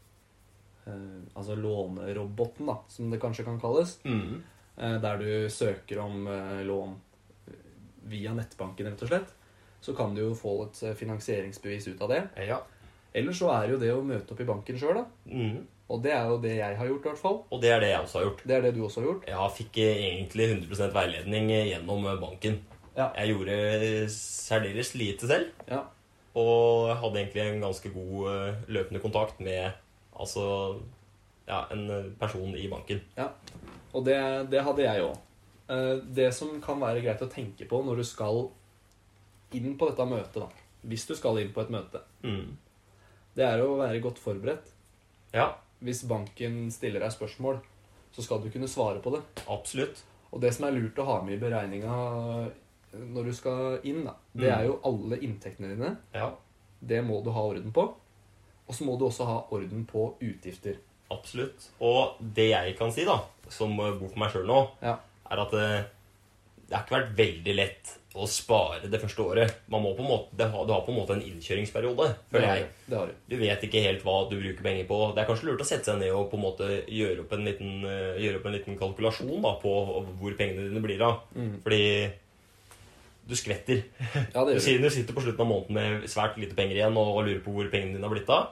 Speaker 2: eh, altså låneroboten, da, som det kanskje kan kalles,
Speaker 1: Mm.
Speaker 2: eh, der du søker om eh, lån via nettbanken, rett og slett. Så kan du jo få et eh, finansieringsbevis ut av det.
Speaker 1: Ja.
Speaker 2: Eller så er det jo det å møte opp i banken sjøl, da.
Speaker 1: Mhm.
Speaker 2: Og det er jo det jeg har gjort, i hvert fall.
Speaker 1: Og det er det jeg også har gjort.
Speaker 2: Det er det du også har gjort.
Speaker 1: Jeg fikk egentlig 100 veiledning gjennom banken.
Speaker 2: Ja.
Speaker 1: Jeg gjorde særdeles lite selv,
Speaker 2: Ja.
Speaker 1: og hadde egentlig en ganske god eh, løpende kontakt med altså ja, en person i banken.
Speaker 2: Og det, det hadde jeg òg. Det som kan være greit å tenke på når du skal inn på dette møtet, da, hvis du skal inn på et møte,
Speaker 1: Mhm.
Speaker 2: det er å være godt forberedt.
Speaker 1: Ja,
Speaker 2: Hvis banken stiller deg spørsmål, så skal du kunne svare på det.
Speaker 1: absolutt.
Speaker 2: Og det som er lurt å ha med i beregninga når du skal inn, da, det
Speaker 1: Mm.
Speaker 2: er jo alle inntektene dine.
Speaker 1: Ja,
Speaker 2: Det må du ha orden på. Og så må du også ha orden på utgifter.
Speaker 1: Absolutt. Og det jeg kan si, da, som eh, bor for meg sjøl nå,
Speaker 2: Ja.
Speaker 1: er at eh, det har ikke vært veldig lett å spare det første året. Man må på en måte, det har, Du har på en måte en innkjøringsperiode,
Speaker 2: Det
Speaker 1: føler
Speaker 2: har
Speaker 1: jeg.
Speaker 2: du. Det har du.
Speaker 1: Du vet ikke helt hva du bruker penger på. Det er kanskje lurt å sette seg ned og på en måte gjøre opp en liten, eh, gjøre opp en liten kalkulasjon da, på hvor pengene dine blir av.
Speaker 2: Mm.
Speaker 1: Fordi du skvetter.
Speaker 2: Ja, det
Speaker 1: Du
Speaker 2: gjør du.
Speaker 1: sier du sitter på slutten av måneden med svært lite penger igjen og og lurer på hvor pengene dine har blitt av.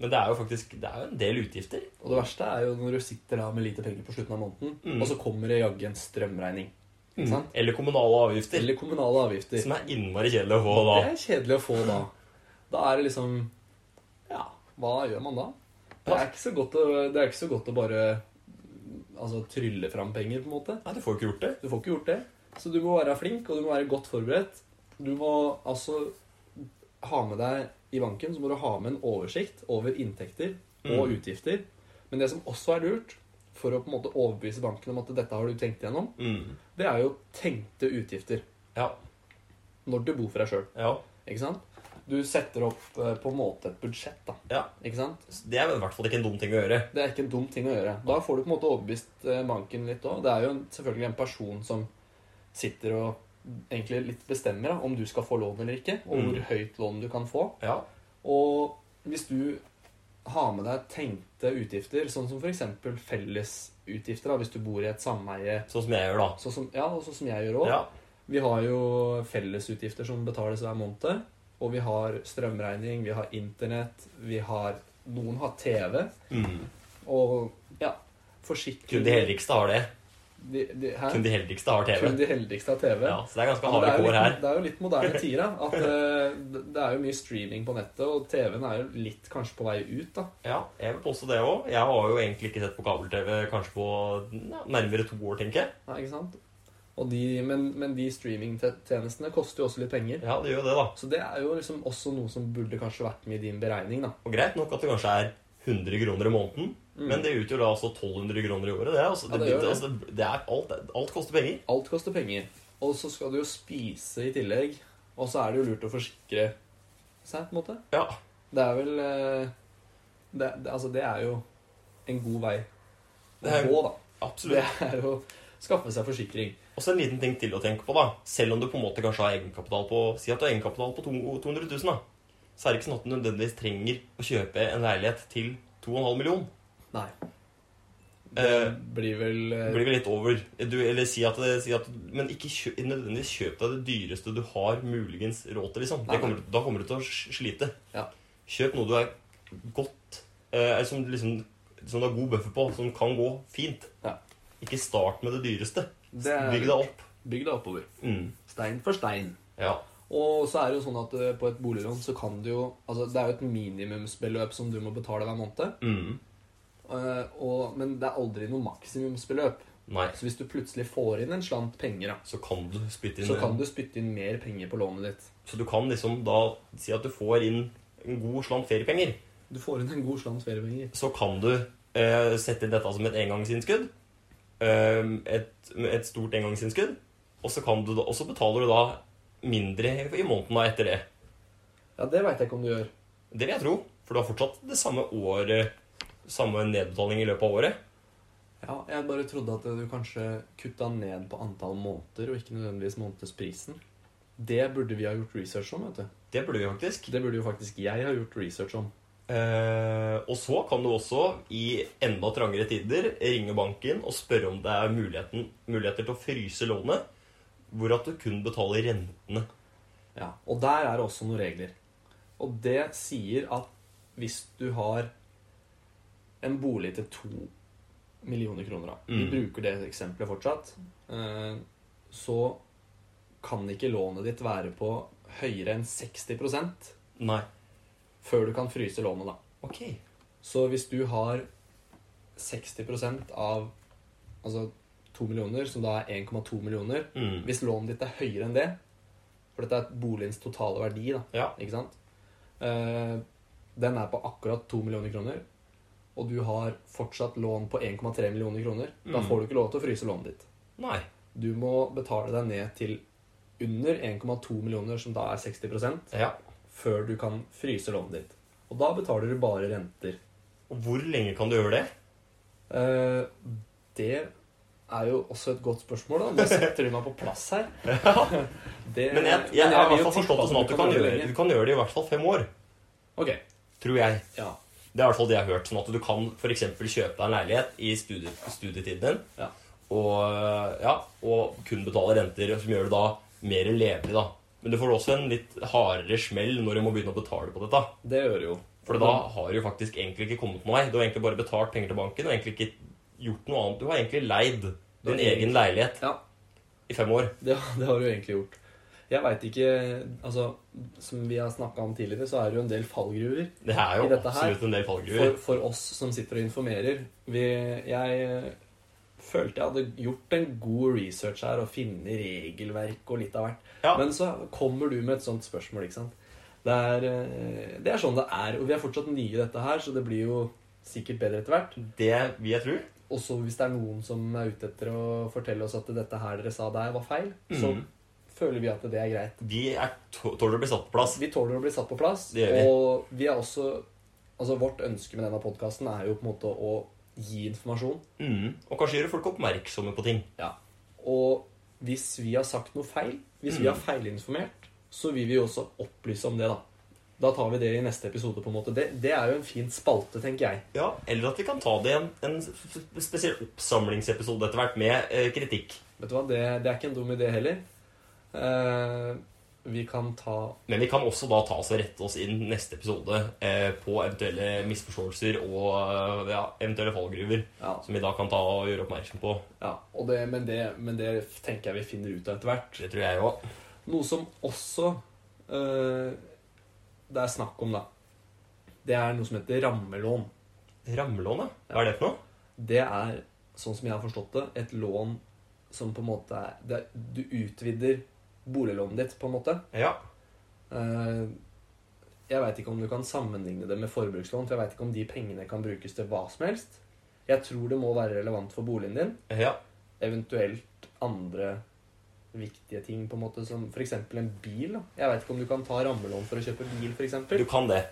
Speaker 1: Men det er jo faktisk det er jo en del utgifter.
Speaker 2: Og det verste er jo når du sitter da med lite penger på slutten av måneden,
Speaker 1: Mm.
Speaker 2: og så kommer det jaggu en strømregning. Ikke sant?
Speaker 1: Eller kommunale avgifter.
Speaker 2: Eller kommunale avgifter.
Speaker 1: Som er innmari kjedelig å få da.
Speaker 2: Det er kjedelig å få da. Da er det liksom Ja, hva gjør man da? Det er ikke så godt å, det er ikke så godt å bare altså, trylle fram penger, på en måte.
Speaker 1: Nei, du får jo ikke gjort det.
Speaker 2: Du får ikke gjort det. Så du må være flink, og du må være godt forberedt. Du må altså ha med deg i banken, så må du ha med en oversikt over inntekter og
Speaker 1: Mm.
Speaker 2: utgifter. Men det som også er lurt, for å på en måte overbevise banken om at dette har du tenkt gjennom, det er jo tenkte utgifter
Speaker 1: Mm. Ja.
Speaker 2: når du bor for deg sjøl.
Speaker 1: ja.
Speaker 2: Ikke sant? Du setter opp eh, på en måte et budsjett, da.
Speaker 1: Ja.
Speaker 2: Ikke sant?
Speaker 1: Det er i hvert fall ikke en dum ting å gjøre.
Speaker 2: Det er ikke en dum ting å gjøre. Da får du på en måte overbevist eh, banken litt òg. Det er jo en, selvfølgelig en person som sitter og egentlig litt bestemmer da, om du skal få lån eller ikke, og hvor
Speaker 1: Mm.
Speaker 2: høyt lån du kan få.
Speaker 1: Ja.
Speaker 2: Og hvis du har med deg tenkte utgifter, sånn som f.eks. fellesutgifter, da, hvis du bor i et sameie,
Speaker 1: Sånn som jeg gjør, da.
Speaker 2: sånn som, ja, og sånn som jeg gjør òg
Speaker 1: Ja.
Speaker 2: Vi har jo fellesutgifter som betales hver måned. Og vi har strømregning, vi har internett, vi har Noen har TV.
Speaker 1: Mm.
Speaker 2: Og ja, forsikring
Speaker 1: Kun de heldigste har det.
Speaker 2: De, de, hæ?
Speaker 1: Kun de heldigste har TV.
Speaker 2: Kun de heldigste har TV.
Speaker 1: Ja, så det er ganske
Speaker 2: Ja, men
Speaker 1: harde
Speaker 2: det, er jo
Speaker 1: kår her.
Speaker 2: litt, det er jo litt moderne tider, da. At eh, det- det er jo mye streaming på nettet, og TV-en er jo litt kanskje på vei ut, da.
Speaker 1: Ja, jeg vil påstå det òg. Jeg har jo egentlig ikke sett på kabel-TV kanskje på ja, nærmere to år, tenker jeg.
Speaker 2: Ja, ikke sant? Og de, men, men de streamingtjenestene koster jo også litt penger.
Speaker 1: Ja, det gjør jo det, da.
Speaker 2: Så det er jo liksom også noe som burde kanskje vært med i din beregning, da.
Speaker 1: Og Greit nok at det kanskje er 100 kroner i måneden, men det utgjør da altså 1200 kroner i året. Det, er altså,
Speaker 2: Mm.
Speaker 1: det,
Speaker 2: Ja, det
Speaker 1: det,
Speaker 2: gjør det.
Speaker 1: altså, det er alt, alt koster penger.
Speaker 2: Alt koster penger. Og så skal du jo spise i tillegg. Og så er det jo lurt å forsikre seg, på en måte.
Speaker 1: Ja,
Speaker 2: Det er vel eh, det, det, Altså, det er jo en god vei
Speaker 1: Det
Speaker 2: å
Speaker 1: er-
Speaker 2: gå, da. Det
Speaker 1: absolutt.
Speaker 2: er å skaffe seg forsikring.
Speaker 1: Og så en liten ting til å tenke på, da. Selv om du på en måte kanskje har egenkapital på Si at du har egenkapital på to- 200 000, da. Så er det ikke sånn at du nødvendigvis trenger å kjøpe en leilighet til 2,5 million.
Speaker 2: Nei. Det
Speaker 1: Eh,
Speaker 2: blir vel eh,
Speaker 1: Det blir vel litt over. Du, eller si at, si at Men ikke kjø, nødvendigvis kjøp deg det dyreste du har muligens råd til, liksom.
Speaker 2: Nei,
Speaker 1: Det kommer, du- da kommer du til å sl- slite.
Speaker 2: Ja.
Speaker 1: Kjøp noe du er godt eh, Som liksom Som du har god buffer på, som kan gå fint.
Speaker 2: Ja.
Speaker 1: Ikke start med det dyreste.
Speaker 2: det er-
Speaker 1: Bygg deg opp.
Speaker 2: Bygg deg oppover.
Speaker 1: Mm.
Speaker 2: Stein for stein.
Speaker 1: Ja.
Speaker 2: Og så er det jo sånn at eh, på et boliglån så kan du jo Altså det er jo et minimumsbeløp som du må betale hver måned.
Speaker 1: Mm.
Speaker 2: eh, Og, men det er aldri noe maksimumsbeløp.
Speaker 1: Nei.
Speaker 2: Så hvis du plutselig får inn en slant penger, da,
Speaker 1: Så kan du spytte inn
Speaker 2: så kan du spytte inn mer penger på lånet ditt.
Speaker 1: så du kan liksom da si at du får inn en god slant feriepenger.
Speaker 2: Du får inn en god slant feriepenger.
Speaker 1: så kan du eh, sette inn dette som et engangsinnskudd. Eh, et, et stort engangsinnskudd. Og så, kan du da, og så betaler du da mindre i i måneden da etter det.
Speaker 2: Ja, det veit jeg ikke om du gjør.
Speaker 1: Det vil jeg tro. For du har fortsatt det samme året Samme nedbetaling i løpet av året.
Speaker 2: Ja, Jeg bare trodde at du kanskje kutta ned på antall måneder, og ikke nødvendigvis månedsprisen. Det burde vi ha gjort research om, vet du.
Speaker 1: Det burde vi faktisk.
Speaker 2: Det burde jo faktisk jeg ha gjort research om.
Speaker 1: Eh, og så kan du også i enda trangere tider ringe banken og spørre om det er muligheten, muligheter til å fryse lånet, hvor at du kun betaler rentene.
Speaker 2: Ja, og der er det også noen regler. Og det sier at hvis du har en bolig til to millioner kroner, da,
Speaker 1: Mm.
Speaker 2: vi bruker det eksempelet fortsatt, eh, så kan ikke lånet ditt være på høyere enn 60
Speaker 1: Nei.
Speaker 2: før du kan fryse lånet. da.
Speaker 1: Ok.
Speaker 2: Så hvis du har 60 av altså 2 millioner, som da er 1,2 millioner
Speaker 1: Mm.
Speaker 2: Hvis lånet ditt er høyere enn det, for dette er boligens totale verdi, da,
Speaker 1: Ja.
Speaker 2: ikke sant? Eh, den er på akkurat 2 millioner kroner, og du har fortsatt lån på 1,3 millioner kroner. Da
Speaker 1: Mm.
Speaker 2: får du ikke lov til å fryse lånet ditt.
Speaker 1: Nei.
Speaker 2: Du må betale deg ned til under 1,2 millioner, som da er 60
Speaker 1: Ja.
Speaker 2: før du kan fryse lånet ditt. Og da betaler du bare renter.
Speaker 1: Og Hvor lenge kan du gjøre det?
Speaker 2: Eh, det er jo også et godt spørsmål, da. Nå setter du meg på plass her. Det-
Speaker 1: Men jeg, jeg,
Speaker 2: men
Speaker 1: har i
Speaker 2: vil
Speaker 1: hvert
Speaker 2: jo
Speaker 1: fall forstått
Speaker 2: tippe
Speaker 1: det sånn at du kan,
Speaker 2: gjøre det
Speaker 1: gjøre,
Speaker 2: lenge.
Speaker 1: du kan gjøre det i hvert fall fem år.
Speaker 2: Ok,
Speaker 1: Tror jeg.
Speaker 2: ja.
Speaker 1: Det er i hvert fall det jeg har hørt. Sånn at du kan for eksempel kjøpe deg en leilighet i studie, studietiden din,
Speaker 2: ja.
Speaker 1: og, ja, og kun betale renter, som gjør det da mer levelig, da. Men du får også en litt hardere smell når du må begynne å betale på dette.
Speaker 2: Det gjør det jo.
Speaker 1: For da
Speaker 2: Mm.
Speaker 1: har du jo faktisk egentlig ikke kommet noen vei. Du har egentlig bare betalt penger til banken og egentlig ikke gjort noe annet. Du har egentlig leid
Speaker 2: har
Speaker 1: din
Speaker 2: egentlig-
Speaker 1: egen leilighet
Speaker 2: Ja,
Speaker 1: i fem år.
Speaker 2: det, det har du egentlig gjort. Jeg veit ikke Altså, som vi har snakka om tidligere, så er det jo en del fallgruver.
Speaker 1: Det er jo
Speaker 2: I dette her-
Speaker 1: absolutt en del fallgruver.
Speaker 2: For, for oss som sitter og informerer. Vi, jeg eh, følte jeg hadde gjort en god research her og funnet regelverk og litt av hvert.
Speaker 1: Ja.
Speaker 2: Men så kommer du med et sånt spørsmål, ikke sant. Det er, eh, det er sånn det er. Og vi er fortsatt nye i dette her, så det blir jo sikkert bedre etter hvert.
Speaker 1: Det vil jeg tro.
Speaker 2: Også hvis det er noen som er ute etter å fortelle oss at dette her dere sa der, var feil, så
Speaker 1: Mhm.
Speaker 2: føler vi at det er greit.
Speaker 1: Vi er tå- tåler å bli satt på plass.
Speaker 2: Vi tåler å bli satt på plass,
Speaker 1: Det gjør vi.
Speaker 2: og vi er også Altså, vårt ønske med denne podkasten er jo på en måte å gi informasjon.
Speaker 1: Mm. Og kanskje gjøre folk oppmerksomme på ting.
Speaker 2: Og hvis vi har sagt noe feil, hvis vi
Speaker 1: Mhm.
Speaker 2: har feilinformert, så vil vi jo også opplyse om det, da. Da tar vi det i neste episode, på en måte. Det, det er jo en fin spalte, tenker jeg.
Speaker 1: Ja, Eller at vi kan ta det i en, en sp- spesiell oppsamlingsepisode etter hvert med eh, kritikk.
Speaker 2: Vet du hva, det, det er ikke en dum idé heller. Eh, vi kan ta
Speaker 1: Men vi kan også da ta oss og rette oss inn neste episode eh, på eventuelle misforståelser og eh, ja, eventuelle fallgruver
Speaker 2: ja,
Speaker 1: som vi da kan ta og gjøre oppmerksom på.
Speaker 2: ja, og det, men, det, men det tenker jeg vi finner ut av etter hvert.
Speaker 1: Det tror jeg òg.
Speaker 2: Noe som også eh, det er snakk om, da, det er noe som heter rammelån.
Speaker 1: Rammelån, ja. Hva er det for noe?
Speaker 2: Det er, sånn som jeg har forstått det, et lån som på en måte er det, er- Du utvider boliglånet ditt, på en måte.
Speaker 1: Ja.
Speaker 2: Eh, Jeg veit ikke om du kan sammenligne det med forbrukslån, for jeg veit ikke om de pengene kan brukes til hva som helst. Jeg tror det må være relevant for boligen din,
Speaker 1: ja.
Speaker 2: eventuelt andre viktige ting, på en måte, som f.eks. en bil. da. Jeg veit ikke om du kan ta rammelån for å kjøpe bil,
Speaker 1: Du
Speaker 2: f.eks.
Speaker 1: kan det.
Speaker 2: kan det.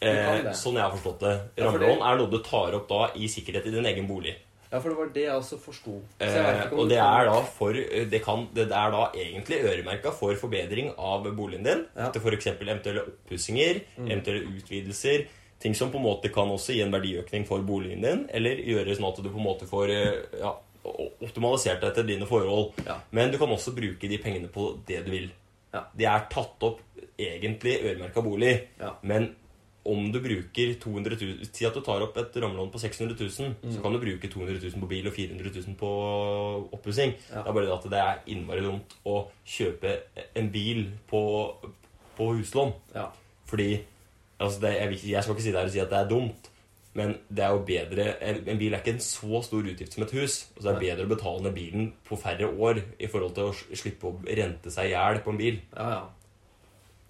Speaker 1: Eh, sånn jeg har forstått det.
Speaker 2: Ja, for det-
Speaker 1: Rammelån er noe du tar opp da i sikkerhet i din egen bolig.
Speaker 2: Ja, for det var det jeg også forsto. Så jeg vet
Speaker 1: Eh,
Speaker 2: ikke om
Speaker 1: og
Speaker 2: du
Speaker 1: det
Speaker 2: kan-
Speaker 1: er da for eh, Det, kan, det er da egentlig øremerka for forbedring av boligen din.
Speaker 2: Ja. Mm.
Speaker 1: Til f.eks. eventuelle oppussinger, eventuelle utvidelser. Ting som på en måte kan også gi en verdiøkning for boligen din, eller gjøre sånn at du på en måte får eh, ja, o- optimalisert deg etter dine forhold.
Speaker 2: Ja.
Speaker 1: Men du kan også bruke de pengene på det du vil.
Speaker 2: Ja.
Speaker 1: Det er tatt opp egentlig øremerka bolig,
Speaker 2: Ja.
Speaker 1: men om du bruker 200 000 Si at du tar opp et rammelån på 600 000,
Speaker 2: Mm.
Speaker 1: så kan du bruke 200 000 på bil og 400 000 på oppussing.
Speaker 2: Ja.
Speaker 1: Det er bare det at det er innmari dumt å kjøpe en bil på, på huslån.
Speaker 2: Ja.
Speaker 1: Fordi altså det, jeg, vil ikke- jeg skal ikke sitte her og si at det er dumt, men det er jo bedre En en bil er ikke en så stor utgift som et hus. Og så er det
Speaker 2: Nei.
Speaker 1: bedre å betale ned bilen på færre år i forhold til å s- slippe å rente seg i hjel på en bil.
Speaker 2: ja, ja.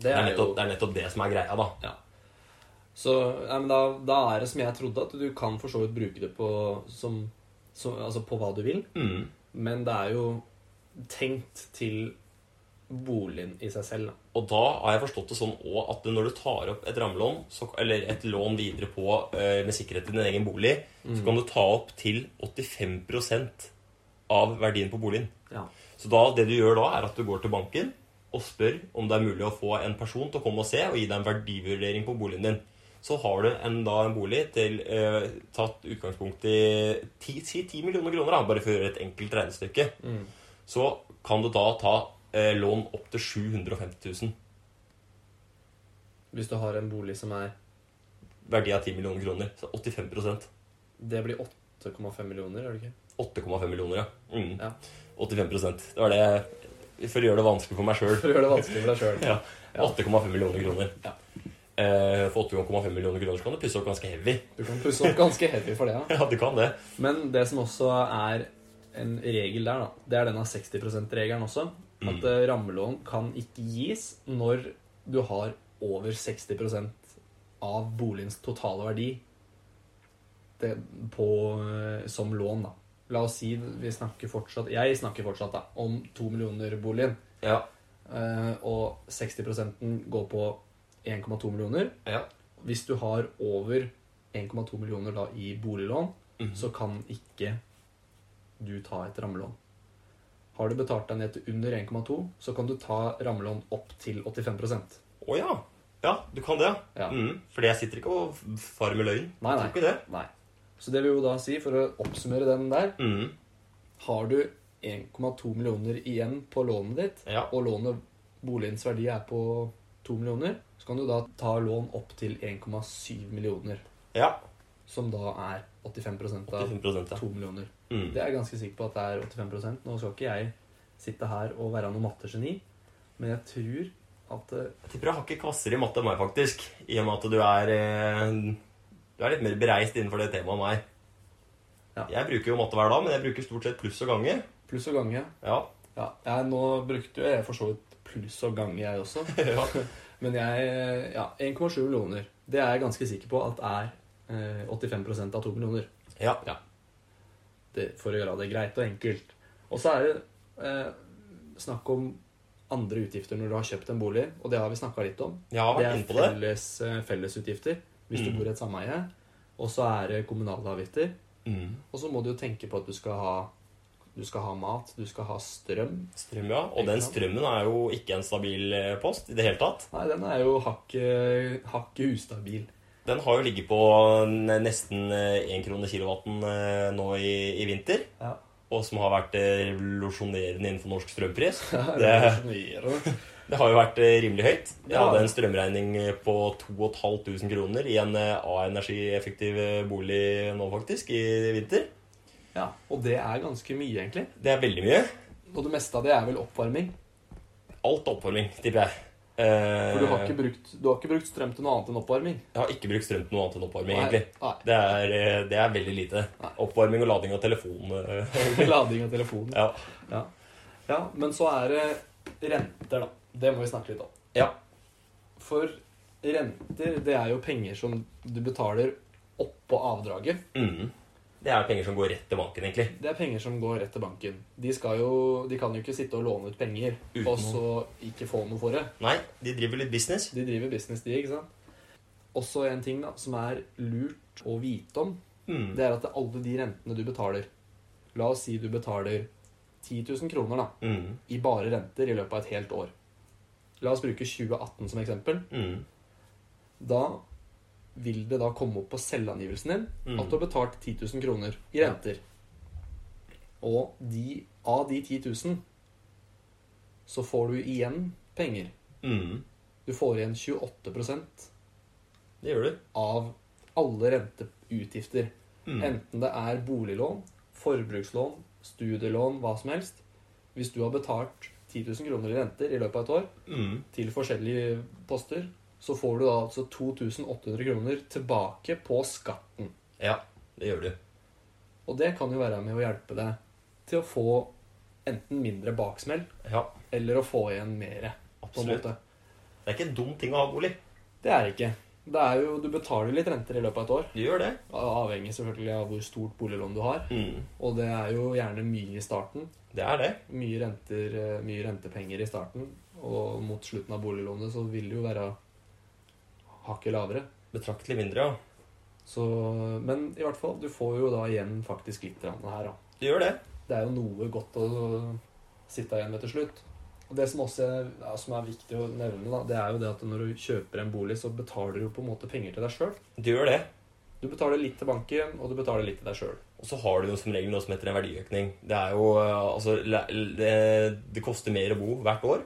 Speaker 1: Det er, nettopp, det er nettopp det som er greia, da.
Speaker 2: Ja. Så nei, men da, da er det som jeg trodde, at du kan for så vidt bruke det på, som, som, altså på hva du vil.
Speaker 1: Mm.
Speaker 2: Men det er jo tenkt til boligen i seg selv. Da.
Speaker 1: Og da har jeg forstått det sånn også at når du tar opp et rammelån, så, eller et lån videre på eh, med sikkerhet i din egen bolig, så kan du ta opp til 85 av verdien på boligen.
Speaker 2: Ja.
Speaker 1: Så da, det du gjør da, er at du går til banken og spør om det er mulig å få en person til å komme og se og gi deg en verdivurdering på boligen din. Så har du en, da en bolig til eh, tatt utgangspunkt i ti, si 10 millioner kroner, da, bare for å gjøre et enkelt regnestykke.
Speaker 2: Mm.
Speaker 1: Så kan du da ta eh, lån opp til 750 000.
Speaker 2: Hvis du har en bolig som er
Speaker 1: Verdi av 10 millioner kroner. Så 85
Speaker 2: Det blir 8,5 millioner, gjør det ikke?
Speaker 1: 8,5 millioner, ja. Mm.
Speaker 2: Ja.
Speaker 1: 85 Det var det For å gjøre det vanskelig for meg sjøl.
Speaker 2: For å gjøre det vanskelig for deg sjøl.
Speaker 1: Ja. 8,5 millioner kroner.
Speaker 2: Ja.
Speaker 1: Eh, for 8,5 millioner kroner så kan du pusse opp ganske heavy.
Speaker 2: Du kan pusse opp ganske heavy for det. Ja.
Speaker 1: Ja, du kan det.
Speaker 2: Men det som også er en regel der, da, det er denne 60 %-regelen også. At
Speaker 1: Mm.
Speaker 2: eh, rammelån kan ikke gis når du har over 60 av boligens totale verdi det, på, eh, som lån. da. La oss si vi snakker fortsatt Jeg snakker fortsatt da, om to millioner boligen.
Speaker 1: Ja.
Speaker 2: eh, og 60 går på 1,2 millioner.
Speaker 1: ja.
Speaker 2: Hvis du har over 1,2 millioner da i boliglån,
Speaker 1: Mhm.
Speaker 2: så kan ikke du ta et rammelån. Har du betalt deg ned til under 1,2, så kan du ta rammelån opp til 85
Speaker 1: Å ja. Ja, du kan det, ja.
Speaker 2: Ja.
Speaker 1: Mm. Fordi jeg sitter ikke og farer med løgn.
Speaker 2: Nei, nei.
Speaker 1: Tror ikke det.
Speaker 2: Nei. Så det vil jo da si, for å oppsummere den der
Speaker 1: Mm.
Speaker 2: Har du 1,2 millioner igjen på lånet ditt,
Speaker 1: Ja.
Speaker 2: og lånet boligens verdi er på 2 millioner, så kan du da ta lån opp til 1,7 millioner,
Speaker 1: ja.
Speaker 2: som da er 85 av
Speaker 1: 85 ja.
Speaker 2: 2 millioner.
Speaker 1: Mm.
Speaker 2: Det er jeg ganske sikker på at det er 85 Nå skal ikke jeg sitte her og være noe mattegeni, men jeg tror at eh,
Speaker 1: Jeg tipper jeg har ikke kvasser i matte enn meg, faktisk. I og med at du er eh, Du er litt mer bereist innenfor det temaet enn meg.
Speaker 2: Ja.
Speaker 1: Jeg bruker jo matte hver dag, men jeg bruker stort sett pluss og gange.
Speaker 2: pluss og gange
Speaker 1: Ja.
Speaker 2: Ja, jeg, nå brukte jo jeg for så vidt pluss og gange, jeg også.
Speaker 1: ja.
Speaker 2: Men jeg eh, Ja, 1,7 millioner. Det er jeg ganske sikker på at er eh, 85 av 2 millioner.
Speaker 1: ja.
Speaker 2: Det, for å gjøre det greit og enkelt. Og så er det eh, snakk om andre utgifter når du har kjøpt en bolig, og det har vi snakka litt om.
Speaker 1: Jeg har
Speaker 2: Det
Speaker 1: vært
Speaker 2: er
Speaker 1: inne på det.
Speaker 2: felles, eh, fellesutgifter hvis du
Speaker 1: Mm.
Speaker 2: bor i et sameie. Og så er det kommunale avgifter.
Speaker 1: Mm.
Speaker 2: Og så må du jo tenke på at du skal ha, du skal ha mat, du skal ha strøm.
Speaker 1: Strøm, ja.
Speaker 2: Ikke
Speaker 1: Og den
Speaker 2: sant?
Speaker 1: strømmen er jo ikke en stabil eh, post i det hele tatt.
Speaker 2: Nei, den er jo hakket hakke ustabil.
Speaker 1: Den har jo ligget på n- nesten én krone kilowatten eh, nå i, i vinter.
Speaker 2: Ja.
Speaker 1: Og som har vært eh, revolusjonerende innenfor norsk strømpris.
Speaker 2: Det
Speaker 1: Det,
Speaker 2: er revolusjonerende.
Speaker 1: Det har jo vært eh, rimelig høyt. Jeg
Speaker 2: Ja.
Speaker 1: hadde en strømregning eh, på 2500 kroner i en eh, A-energieffektiv eh, bolig nå, faktisk, i vinter.
Speaker 2: Ja, Og det er ganske mye, egentlig.
Speaker 1: Det er veldig mye.
Speaker 2: Og det meste av det er vel oppvarming.
Speaker 1: Alt oppvarming, tipper jeg. Eh,
Speaker 2: For du har ikke brukt, du har ikke brukt strøm til noe annet enn oppvarming.
Speaker 1: Jeg har ikke brukt strøm til noe annet enn oppvarming,
Speaker 2: Nei,
Speaker 1: egentlig. Det er, eh, det er veldig lite.
Speaker 2: Nei.
Speaker 1: Oppvarming og lading av telefon. eh,
Speaker 2: nei. Lading av telefonen.
Speaker 1: Ja.
Speaker 2: Ja. ja, men så er det renter, da. Det må vi snakke litt om.
Speaker 1: Ja.
Speaker 2: For renter, det er jo penger som du betaler oppå avdraget.
Speaker 1: Mm. Det er penger som går rett til banken, egentlig.
Speaker 2: Det er penger som går rett til banken. De, skal jo, de kan jo ikke sitte og låne ut penger
Speaker 1: Uten
Speaker 2: og så ikke få noe for det.
Speaker 1: Nei, de driver litt business.
Speaker 2: De driver business, de, ikke sant? Også en ting da, som er lurt å vite om,
Speaker 1: Mm.
Speaker 2: det er at alle de rentene du betaler La oss si du betaler 10 000 kroner da,
Speaker 1: Mm.
Speaker 2: i bare renter i løpet av et helt år. La oss bruke 2018 som eksempel.
Speaker 1: Mm.
Speaker 2: Da vil det da komme opp på selvangivelsen din
Speaker 1: Mm.
Speaker 2: at du har betalt 10 000 kroner i renter. Og de, av de 10 000 så får du igjen penger.
Speaker 1: Mm.
Speaker 2: Du får igjen 28
Speaker 1: Det gjør du.
Speaker 2: av alle renteutgifter.
Speaker 1: Mm.
Speaker 2: Enten det er boliglån, forbrukslån, studielån, hva som helst. Hvis du har betalt 10 000 kroner i renter i løpet av et år
Speaker 1: Mm.
Speaker 2: til forskjellige poster, så får du da altså 2800 kroner tilbake på skatten.
Speaker 1: Ja, det gjør du.
Speaker 2: Og det kan jo være med å hjelpe deg til å få enten mindre baksmell,
Speaker 1: Ja,
Speaker 2: eller å få igjen mer, på en
Speaker 1: absolutt.
Speaker 2: måte.
Speaker 1: Det er ikke en dum ting å ha bolig.
Speaker 2: Det er det ikke. Det er jo, Du betaler litt renter i løpet av et år,
Speaker 1: Du gjør det.
Speaker 2: avhengig selvfølgelig av hvor stort boliglån du har.
Speaker 1: Mm.
Speaker 2: Og det er jo gjerne mye i starten.
Speaker 1: Det er det.
Speaker 2: Mye, renter, eh, mye rentepenger i starten. Og mot slutten av boliglånet så vil det jo være hakket lavere.
Speaker 1: Betraktelig mindre, ja.
Speaker 2: Så, men i hvert fall, du får jo da igjen faktisk litt grann her, da.
Speaker 1: Du gjør det.
Speaker 2: Det er jo noe godt å sitte igjen med til slutt. Og det som også er, ja, som er viktig å nevne, da, det er jo det at når du kjøper en bolig, så betaler du jo på en måte penger til deg sjøl.
Speaker 1: Du gjør det.
Speaker 2: Du betaler litt til banken, og du betaler litt til deg sjøl.
Speaker 1: Og så har du jo som regel noe som heter en verdiøkning. Det er jo eh, Altså, le- le- det, det koster mer å bo hvert år.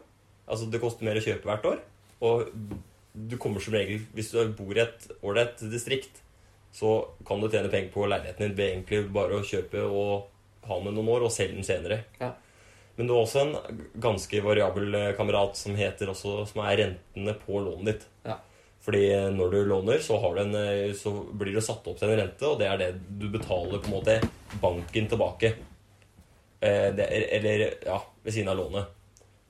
Speaker 1: Altså, det koster mer å kjøpe hvert år. Og du kommer som regel Hvis du bor i et ålreit distrikt, så kan du tjene penger på leiligheten din ved egentlig bare å kjøpe og ha den noen år, og selge den senere.
Speaker 2: Ja.
Speaker 1: Men du har også en ganske variabel eh, kamerat som heter også Som er rentene på lånet ditt.
Speaker 2: Ja.
Speaker 1: Fordi eh, når du låner, så, har du en, eh, så blir det satt opp til en rente, og det er det du betaler på en måte banken tilbake. Eh, det, er- eller ja, ved siden av lånet.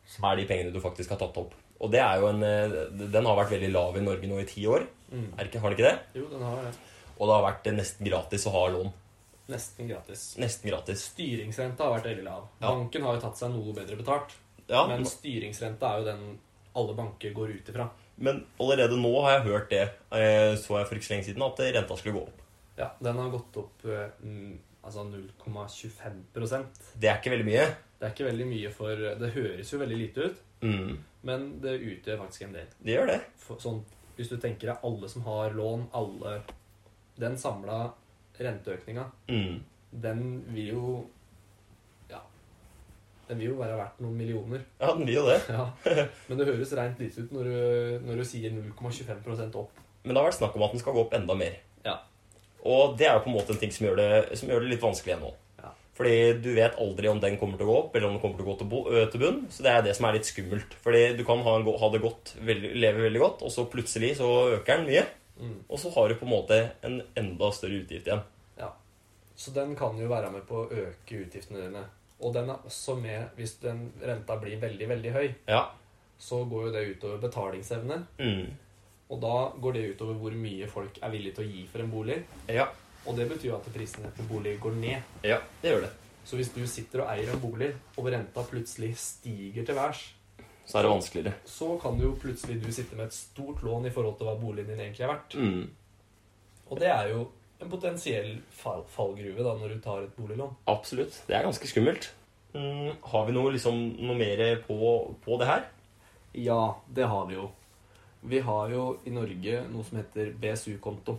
Speaker 1: Som er de pengene du faktisk har tatt opp. Og det er jo en eh, Den har vært veldig lav i Norge nå i ti år.
Speaker 2: Mm.
Speaker 1: Er det ikke, har den ikke det?
Speaker 2: Jo, den har det.
Speaker 1: Og det har vært eh, nesten gratis å ha lån.
Speaker 2: Nesten gratis.
Speaker 1: Nesten gratis.
Speaker 2: Styringsrenta har vært veldig lav.
Speaker 1: Ja.
Speaker 2: Banken har jo tatt seg noe bedre betalt.
Speaker 1: Ja,
Speaker 2: Men styringsrenta er jo den alle banker går ut ifra.
Speaker 1: Men allerede nå har jeg hørt det, eh, så jeg for ikke så lenge siden, at renta skulle gå opp.
Speaker 2: Ja, den har gått opp eh, mm, altså 0,25 Det
Speaker 1: Det er ikke veldig mye.
Speaker 2: er ikke veldig mye for Det høres jo veldig lite ut,
Speaker 1: Mm.
Speaker 2: men det utgjør faktisk en del.
Speaker 1: Det gjør det.
Speaker 2: For, sånn, hvis du tenker deg alle som har lån, alle Den samla renteøkninga,
Speaker 1: Mm.
Speaker 2: den vil jo Ja. Den vil jo være verdt noen millioner.
Speaker 1: Ja, den vil jo det.
Speaker 2: Ja, Men det høres rent lite ut når du, når du sier 0,25 opp.
Speaker 1: Men det har vært snakk om at den skal gå opp enda mer.
Speaker 2: Ja.
Speaker 1: Og det er jo på en måte en ting som gjør det, som gjør det litt vanskelig ennå.
Speaker 2: Ja.
Speaker 1: Fordi du vet aldri om den kommer til å gå opp, eller om den kommer til å gå til, bo, ø, til bunn. Så det er det som er litt skummelt. Fordi du kan ha, en go- ha det godt, veldig, leve veldig godt, og så plutselig så øker den mye.
Speaker 2: Mm.
Speaker 1: Og så har du på en måte en enda større utgift igjen.
Speaker 2: Ja. Så den kan jo være med på å øke utgiftene dine. Og den er også med hvis den renta blir veldig, veldig høy.
Speaker 1: Ja.
Speaker 2: Så går jo det utover betalingsevne.
Speaker 1: Mm.
Speaker 2: Og da går det utover hvor mye folk er villige til å gi for en bolig.
Speaker 1: Ja.
Speaker 2: Og det betyr jo at prisene på bolig går ned.
Speaker 1: ja. Det gjør det.
Speaker 2: Så hvis du sitter og eier en bolig, og renta plutselig stiger til værs,
Speaker 1: Så er det vanskeligere.
Speaker 2: så kan jo plutselig du sitte med et stort lån i forhold til hva boligen din egentlig er verdt.
Speaker 1: Mm.
Speaker 2: Og det er jo en potensiell fall, fallgruve da, når du tar et boliglån.
Speaker 1: Absolutt. Det er ganske skummelt. Mm, har vi noe, liksom, noe mer på, på det her?
Speaker 2: Ja, det har vi jo. Vi har jo i Norge noe som heter BSU-konto.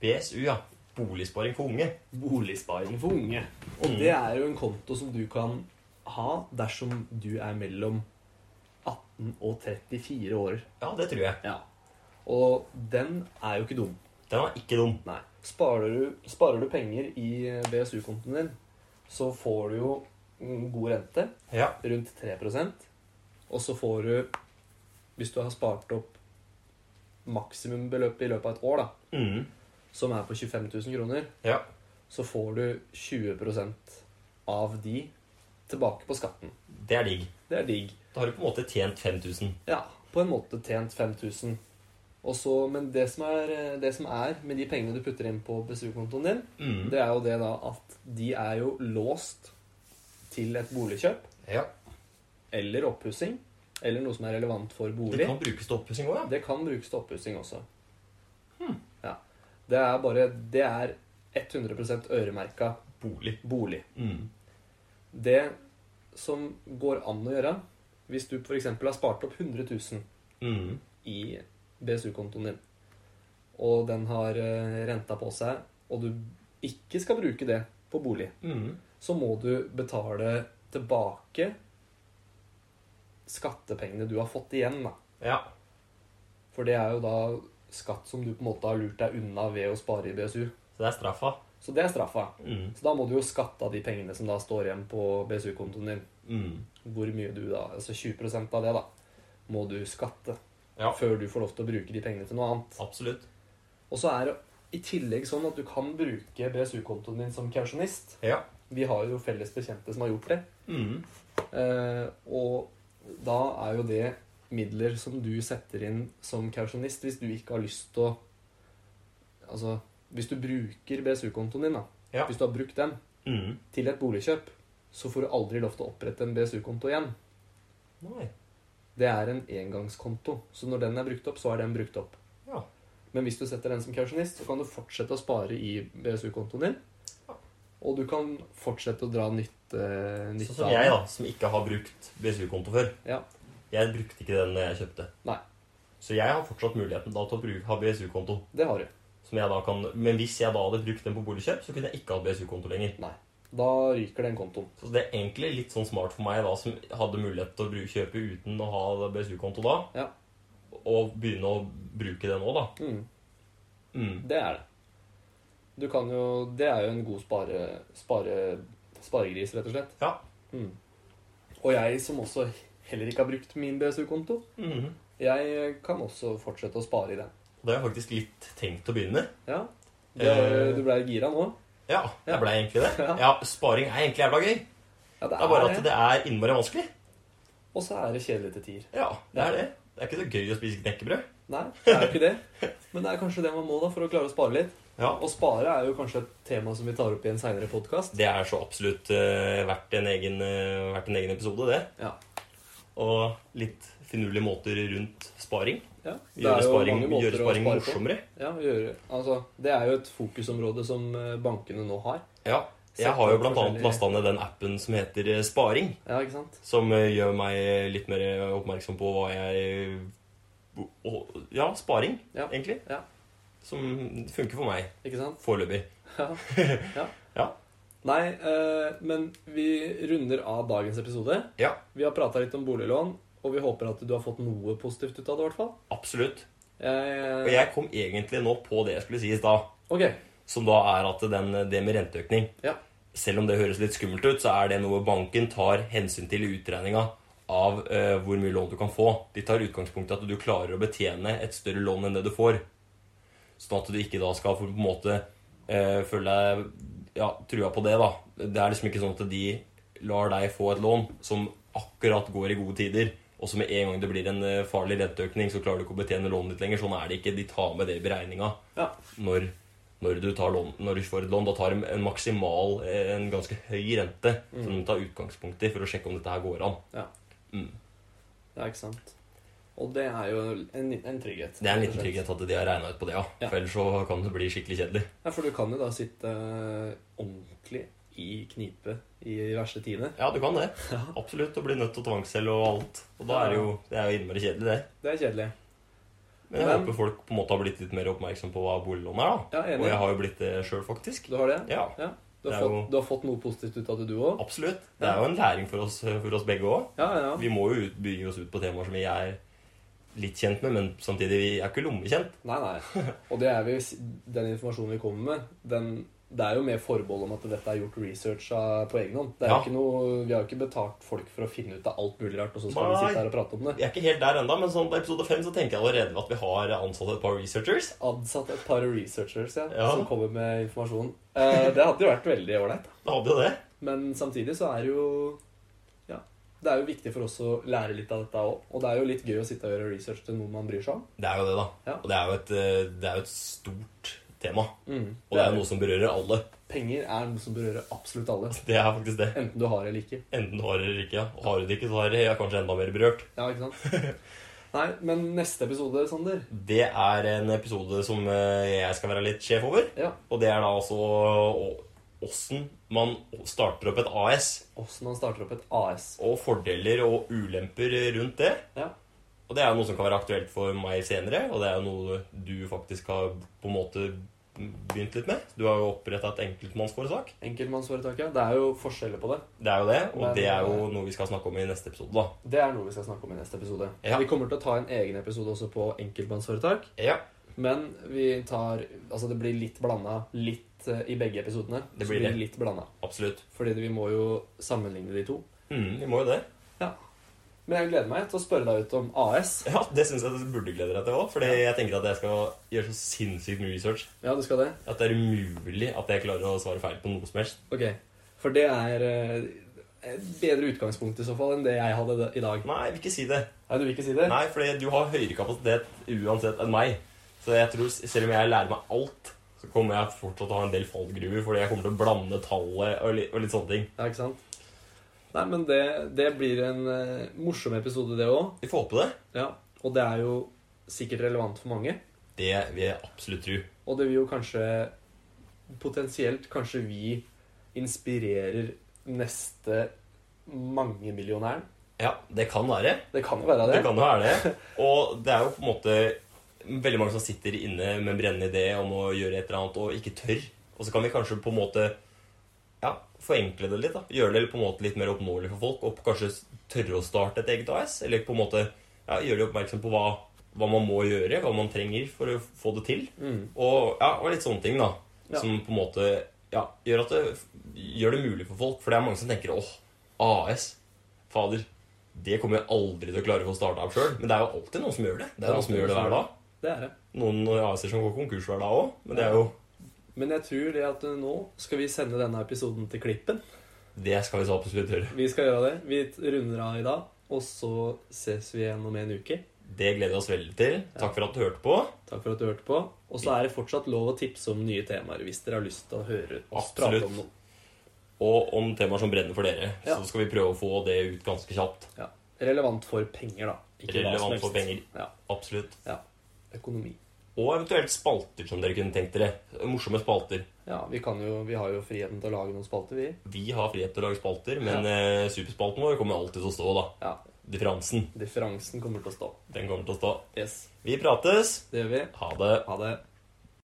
Speaker 1: BSU, ja. Boligsparing for unge.
Speaker 2: Boligsparing for unge. Og
Speaker 1: Mm.
Speaker 2: det er jo en konto som du kan ha dersom du er mellom 18 1934 år.
Speaker 1: Ja, det tror jeg.
Speaker 2: Ja. Og den er jo ikke dum.
Speaker 1: Den er ikke dum.
Speaker 2: Nei. Sparer du, sparer du penger i BSU-kontoen din, så får du jo mm, god rente,
Speaker 1: Ja.
Speaker 2: rundt 3 og så får du, hvis du har spart opp maksimumbeløpet i løpet av et år, da,
Speaker 1: Mm.
Speaker 2: som er på 25 000 kroner,
Speaker 1: Ja.
Speaker 2: så får du 20 av de tilbake på skatten.
Speaker 1: Det er digg.
Speaker 2: Det er digg.
Speaker 1: Da har du på en måte tjent 5000.
Speaker 2: Ja, på en måte tjent 5000. Og så- men det som, er, det som er med de pengene du putter inn på BSU-kontoen din,
Speaker 1: Mm.
Speaker 2: det er jo det da at de er jo låst til et boligkjøp
Speaker 1: Ja.
Speaker 2: eller oppussing eller noe som er relevant for
Speaker 1: Det
Speaker 2: bolig.
Speaker 1: kan brukes til oppussing òg, ja.
Speaker 2: Det kan brukes til oppussing også.
Speaker 1: Hmm.
Speaker 2: Ja. Det er bare Det er 100 øremerka
Speaker 1: Bolig.
Speaker 2: bolig.
Speaker 1: Mm.
Speaker 2: Det som går an å gjøre hvis du f.eks. har spart opp 100 000
Speaker 1: Mm.
Speaker 2: i BSU-kontoen din, og den har eh, renta på seg, og du ikke skal bruke det på bolig,
Speaker 1: Mm.
Speaker 2: så må du betale tilbake skattepengene du har fått igjen, da.
Speaker 1: Ja.
Speaker 2: For det er jo da skatt som du på en måte har lurt deg unna ved å spare i BSU.
Speaker 1: Så det er straffa.
Speaker 2: Så det er straffa.
Speaker 1: Mm.
Speaker 2: Så da må du jo skatte av de pengene som da står igjen på BSU-kontoen din.
Speaker 1: Mm.
Speaker 2: Hvor mye du da Altså 20 av det, da, må du skatte.
Speaker 1: Ja.
Speaker 2: Før du får lov til å bruke de pengene til noe annet.
Speaker 1: Absolutt.
Speaker 2: Og så er det i tillegg sånn at du kan bruke BSU-kontoen din som kausjonist.
Speaker 1: Ja.
Speaker 2: Vi har jo felles bekjente som har gjort det.
Speaker 1: Mm.
Speaker 2: Eh, og da er jo det midler som du setter inn som kausjonist hvis du ikke har lyst til å Altså, hvis du bruker BSU-kontoen din, da,
Speaker 1: Ja.
Speaker 2: hvis du har brukt den
Speaker 1: Mm.
Speaker 2: til et boligkjøp, så får du aldri lov til å opprette en BSU-konto igjen.
Speaker 1: Nei.
Speaker 2: Det er en engangskonto, så når den er brukt opp, så er den brukt opp.
Speaker 1: Ja. Sånn
Speaker 2: Men hvis du setter den som kausjonist, så kan du fortsette å spare i BSU-kontoen din.
Speaker 1: Ja.
Speaker 2: Og du kan fortsette å dra nytte, nytte
Speaker 1: Sånn som jeg, da, som ikke har brukt BSU-konto før.
Speaker 2: Ja.
Speaker 1: Jeg brukte ikke den jeg kjøpte.
Speaker 2: Nei.
Speaker 1: Så jeg har fortsatt muligheten da til å bruke, ha BSU-konto.
Speaker 2: Det har du.
Speaker 1: Som jeg da kan, men hvis jeg da hadde brukt den på boligkjøp, så kunne jeg ikke hatt BSU-konto lenger.
Speaker 2: Da ryker den kontoen.
Speaker 1: Så det er egentlig litt sånn smart for meg da, som hadde mulighet til å bruke, kjøpe uten å ha BSU-konto da,
Speaker 2: Ja.
Speaker 1: og begynne å bruke det nå, da.
Speaker 2: Mm,
Speaker 1: Mm.
Speaker 2: det er det. Du kan jo Det er jo en god spare, spare, sparegris, rett og slett.
Speaker 1: Ja.
Speaker 2: Mm. Og jeg som også heller ikke har brukt min BSU-konto,
Speaker 1: Mhm.
Speaker 2: jeg kan også fortsette å spare i den.
Speaker 1: Og det har jeg faktisk litt tenkt å begynne.
Speaker 2: Ja. Det,
Speaker 1: Eh.
Speaker 2: du blei gira nå?
Speaker 1: Ja,
Speaker 2: Ja.
Speaker 1: jeg ble egentlig det.
Speaker 2: Ja.
Speaker 1: Ja, sparing er egentlig jævla gøy.
Speaker 2: Ja,
Speaker 1: Det er bare at det er innmari vanskelig.
Speaker 2: Og så er det kjedelig til tider.
Speaker 1: Ja, det er det. Det er ikke så gøy å spise knekkebrød.
Speaker 2: Nei, det er jo ikke det. Men det er kanskje det man må da, for å klare å spare litt.
Speaker 1: Ja,
Speaker 2: Å spare er jo kanskje et tema som vi tar opp i en seinere podkast.
Speaker 1: Det er så absolutt eh, verdt, en egen, eh, verdt en egen episode, det.
Speaker 2: Ja.
Speaker 1: Og litt finurlige måter rundt sparing.
Speaker 2: Ja, det
Speaker 1: Gjøre
Speaker 2: er jo
Speaker 1: sparing,
Speaker 2: mange måter
Speaker 1: gjøre sparing
Speaker 2: å spare på.
Speaker 1: morsommere.
Speaker 2: Ja, gjøre, altså, det er jo et fokusområde som eh, bankene nå har.
Speaker 1: Ja. Jeg
Speaker 2: Sette
Speaker 1: har jo
Speaker 2: opp
Speaker 1: blant annet
Speaker 2: forskjellige-
Speaker 1: lasta ned den appen som heter eh, Sparing.
Speaker 2: Ja, ikke sant?
Speaker 1: Som eh, gjør meg litt mer eh, oppmerksom på hva jeg eh, og- Ja, sparing,
Speaker 2: Ja.
Speaker 1: egentlig.
Speaker 2: Ja.
Speaker 1: Som funker for meg
Speaker 2: Ikke sant?
Speaker 1: foreløpig.
Speaker 2: Ja. ja.
Speaker 1: Ja.
Speaker 2: Nei, eh, men vi runder av dagens episode.
Speaker 1: Ja.
Speaker 2: Vi har prata litt om boliglån, og vi håper at du har fått noe positivt ut av det, i hvert fall.
Speaker 1: Absolutt.
Speaker 2: Jeg-
Speaker 1: Og jeg kom egentlig nå på det jeg skulle si i stad.
Speaker 2: Ok.
Speaker 1: Som da er at den, det med renteøkning
Speaker 2: Ja.
Speaker 1: Selv om det høres litt skummelt ut, så er det noe banken tar hensyn til i utregninga av eh, hvor mye lån du kan få. De tar utgangspunkt i at du klarer å betjene et større lån enn det du får. Sånn at du ikke da skal på en måte eh, føle deg ja, trua på det, da. Det er liksom ikke sånn at de lar deg få et lån som akkurat går i gode tider, og så med en gang det blir en eh, farlig renteøkning, så klarer du ikke å betjene lånet ditt lenger. Sånn er det ikke. De tar med det i beregninga
Speaker 2: Ja.
Speaker 1: når, når, du tar lån, når du får et lån. Da tar de en maksimal, eh, en ganske høy rente som de tar utgangspunkt i for å sjekke om dette her går an.
Speaker 2: Ja.
Speaker 1: Mm.
Speaker 2: Ja, ikke sant. Og det er jo en, en trygghet.
Speaker 1: Det er en
Speaker 2: rett og
Speaker 1: liten
Speaker 2: slett.
Speaker 1: trygghet at de har regna ut på det, ja.
Speaker 2: Ja.
Speaker 1: For ellers så kan det bli skikkelig kjedelig.
Speaker 2: Ja, For du kan jo da sitte eh, ordentlig i knipe i de verste tidene.
Speaker 1: Ja, du kan det. Absolutt. Å bli nødt til å tvangsselge og alt. Og da er det jo, det er jo innmari kjedelig, det.
Speaker 2: Det er kjedelig.
Speaker 1: Men jeg
Speaker 2: Men-
Speaker 1: håper folk på en måte har blitt litt mer oppmerksom på hva boliglån er, da.
Speaker 2: Ja,
Speaker 1: Og
Speaker 2: enig.
Speaker 1: jeg har jo blitt det sjøl, faktisk.
Speaker 2: Du har det?
Speaker 1: Ja.
Speaker 2: Ja. Du
Speaker 1: Det
Speaker 2: har,
Speaker 1: er
Speaker 2: fått, du har fått noe positivt ut av det, du òg?
Speaker 1: Absolutt. Det er jo en læring for oss, for oss begge òg.
Speaker 2: Ja, ja, ja.
Speaker 1: Vi må jo ut- bygge oss ut på temaer som vi er litt kjent med, men samtidig vi er ikke lommekjent.
Speaker 2: Nei, nei. Og det er vi, den informasjonen vi kommer med, den, det er jo med forbehold om at dette er gjort research av- på egen hånd. Det er jo
Speaker 1: Ja.
Speaker 2: ikke noe, vi har jo ikke betalt folk for å finne ut av alt mulig rart, og så skal vi
Speaker 1: Nei.
Speaker 2: sitte her og prate om det.
Speaker 1: Vi er ikke helt der ennå, men sånn på episode fem så tenker jeg allerede at vi har ansatt et par researchers.
Speaker 2: Ansatt et par researchers ja,
Speaker 1: Ja.
Speaker 2: som kommer med informasjon. Eh, det hadde jo vært veldig ålreit. da.
Speaker 1: Da hadde jo det.
Speaker 2: Men samtidig så er det jo ja, det er jo viktig for oss å lære litt av dette òg. Og det er jo litt gøy å sitte og gjøre research til noe man bryr seg om.
Speaker 1: Det er jo det, da.
Speaker 2: Ja.
Speaker 1: Og det er jo et, eh, det er jo et stort tema. Og
Speaker 2: Det
Speaker 1: det er
Speaker 2: er-
Speaker 1: jo noe som berører alle.
Speaker 2: Penger er noe som berører absolutt alle.
Speaker 1: Det er faktisk det.
Speaker 2: Enten du har eller ikke.
Speaker 1: Enten du har det eller ikke. Og har du det ikke, så er det ja, kanskje enda mer berørt.
Speaker 2: Ja, ikke sant? Nei, men neste episode, Sander
Speaker 1: Det er en episode som eh, jeg skal være litt sjef over.
Speaker 2: Ja,
Speaker 1: Og det er da altså å- åssen man starter opp et AS.
Speaker 2: Åssen man starter opp et AS.
Speaker 1: og fordeler og ulemper rundt det.
Speaker 2: Ja.
Speaker 1: Og det er noe som kan være aktuelt for meg senere, og det er noe du faktisk har på en måte begynt litt med. Du har jo oppretta et enkeltmannsforetak.
Speaker 2: Enkeltmannsforetaket. Det er jo forskjeller på det.
Speaker 1: Det er jo det, og
Speaker 2: Men- eh,
Speaker 1: det er jo noe vi skal snakke om i neste episode, da.
Speaker 2: Det er noe vi skal snakke om i neste episode.
Speaker 1: Ja.
Speaker 2: Vi kommer til å ta en egen episode også på enkeltmannsforetak.
Speaker 1: Ja,
Speaker 2: Men vi tar Altså, det blir litt blanda litt eh, i begge episodene.
Speaker 1: Det
Speaker 2: Så
Speaker 1: blir det.
Speaker 2: litt blanda.
Speaker 1: absolutt.
Speaker 2: Fordi vi må jo sammenligne de to.
Speaker 1: Mm, vi må jo det.
Speaker 2: Men jeg gleder meg til å spørre deg ut om AS.
Speaker 1: Ja, Det syns jeg du burde glede deg til òg, for jeg tenker at jeg skal gjøre så sinnssykt mye research
Speaker 2: Ja, du skal det?
Speaker 1: at det er umulig at jeg klarer å svare feil på noe som helst.
Speaker 2: Ok. For det er eh, et bedre utgangspunkt i så fall enn det jeg hadde da- i dag.
Speaker 1: Nei, jeg vil ikke si det.
Speaker 2: Nei, du vil ikke si det?
Speaker 1: Nei, fordi du har høyere kapasitet uansett enn meg. Så jeg tror, selv om jeg lærer meg alt, så kommer jeg fortsatt til å ha en del fallgruver, fordi jeg kommer til å blande tallet og litt, og litt sånne ting.
Speaker 2: Ja, ikke sant? Nei, men det, det blir en eh, morsom episode, det òg.
Speaker 1: Vi får håpe det.
Speaker 2: Ja. Og det er jo sikkert relevant for mange.
Speaker 1: Det vil jeg absolutt tro.
Speaker 2: Og det vil jo kanskje Potensielt kanskje vi inspirerer neste mangemillionæren.
Speaker 1: Ja, det kan være.
Speaker 2: Det kan jo være det.
Speaker 1: Det kan jo være det. Og det er jo på en måte veldig mange som sitter inne med en brennende idé om å gjøre et eller annet og ikke tør. Og så kan vi kanskje på en måte ja, forenkle det litt. da. Gjøre det på en måte litt mer oppnåelig for folk. Og kanskje tørre å starte et eget AS. Eller på en måte ja, gjøre de oppmerksom på hva, hva man må gjøre, hva man trenger for å få det til.
Speaker 2: Mm.
Speaker 1: Og, ja, og litt sånne ting da
Speaker 2: Ja.
Speaker 1: Som på en måte ja, gjør, at det, gjør det mulig for folk For det er mange som tenker Åh, AS, fader Det kommer jeg aldri til å klare å få startet opp selv Men det er jo alltid noen som gjør det Det er noen som gjør det hver dag
Speaker 2: Det er det.
Speaker 1: Noen AS-er som går konkurs hver dag også Men det er jo
Speaker 2: Men jeg tror det at eh, nå skal vi sende denne episoden til Klippen.
Speaker 1: Det skal vi så absolutt gjøre
Speaker 2: Vi skal gjøre det. Vi runder av i dag, og så ses vi igjen om en uke.
Speaker 1: Det gleder vi oss veldig til Takk for at du hørte på
Speaker 2: Takk for at du hørte på. Og så er det fortsatt lov å tipse om nye temaer hvis dere har lyst til å høre oss prate
Speaker 1: Absolutt.
Speaker 2: om noe.
Speaker 1: Og om temaer som brenner for dere
Speaker 2: Ja.
Speaker 1: Så skal vi prøve å få det ut ganske kjapt
Speaker 2: Ja. Relevant for penger, da. Ikke hva som
Speaker 1: Relevant
Speaker 2: helst.
Speaker 1: for penger
Speaker 2: Ja.
Speaker 1: Absolutt
Speaker 2: Økonomi.
Speaker 1: Og eventuelt spalter som dere kunne tenkt dere Morsomme spalter
Speaker 2: Ja, vi, kan jo, vi har jo friheten til å lage noen spalter, vi.
Speaker 1: Vi har frihet til å lage spalter, men eh, superspalten vår kommer alltid til å stå. da.
Speaker 2: Ja.
Speaker 1: Differansen.
Speaker 2: Differansen kommer til å stå.
Speaker 1: Den kommer til å stå.
Speaker 2: Yes.
Speaker 1: Vi prates.
Speaker 2: Det gjør vi.
Speaker 1: Ha det.
Speaker 2: Ha det.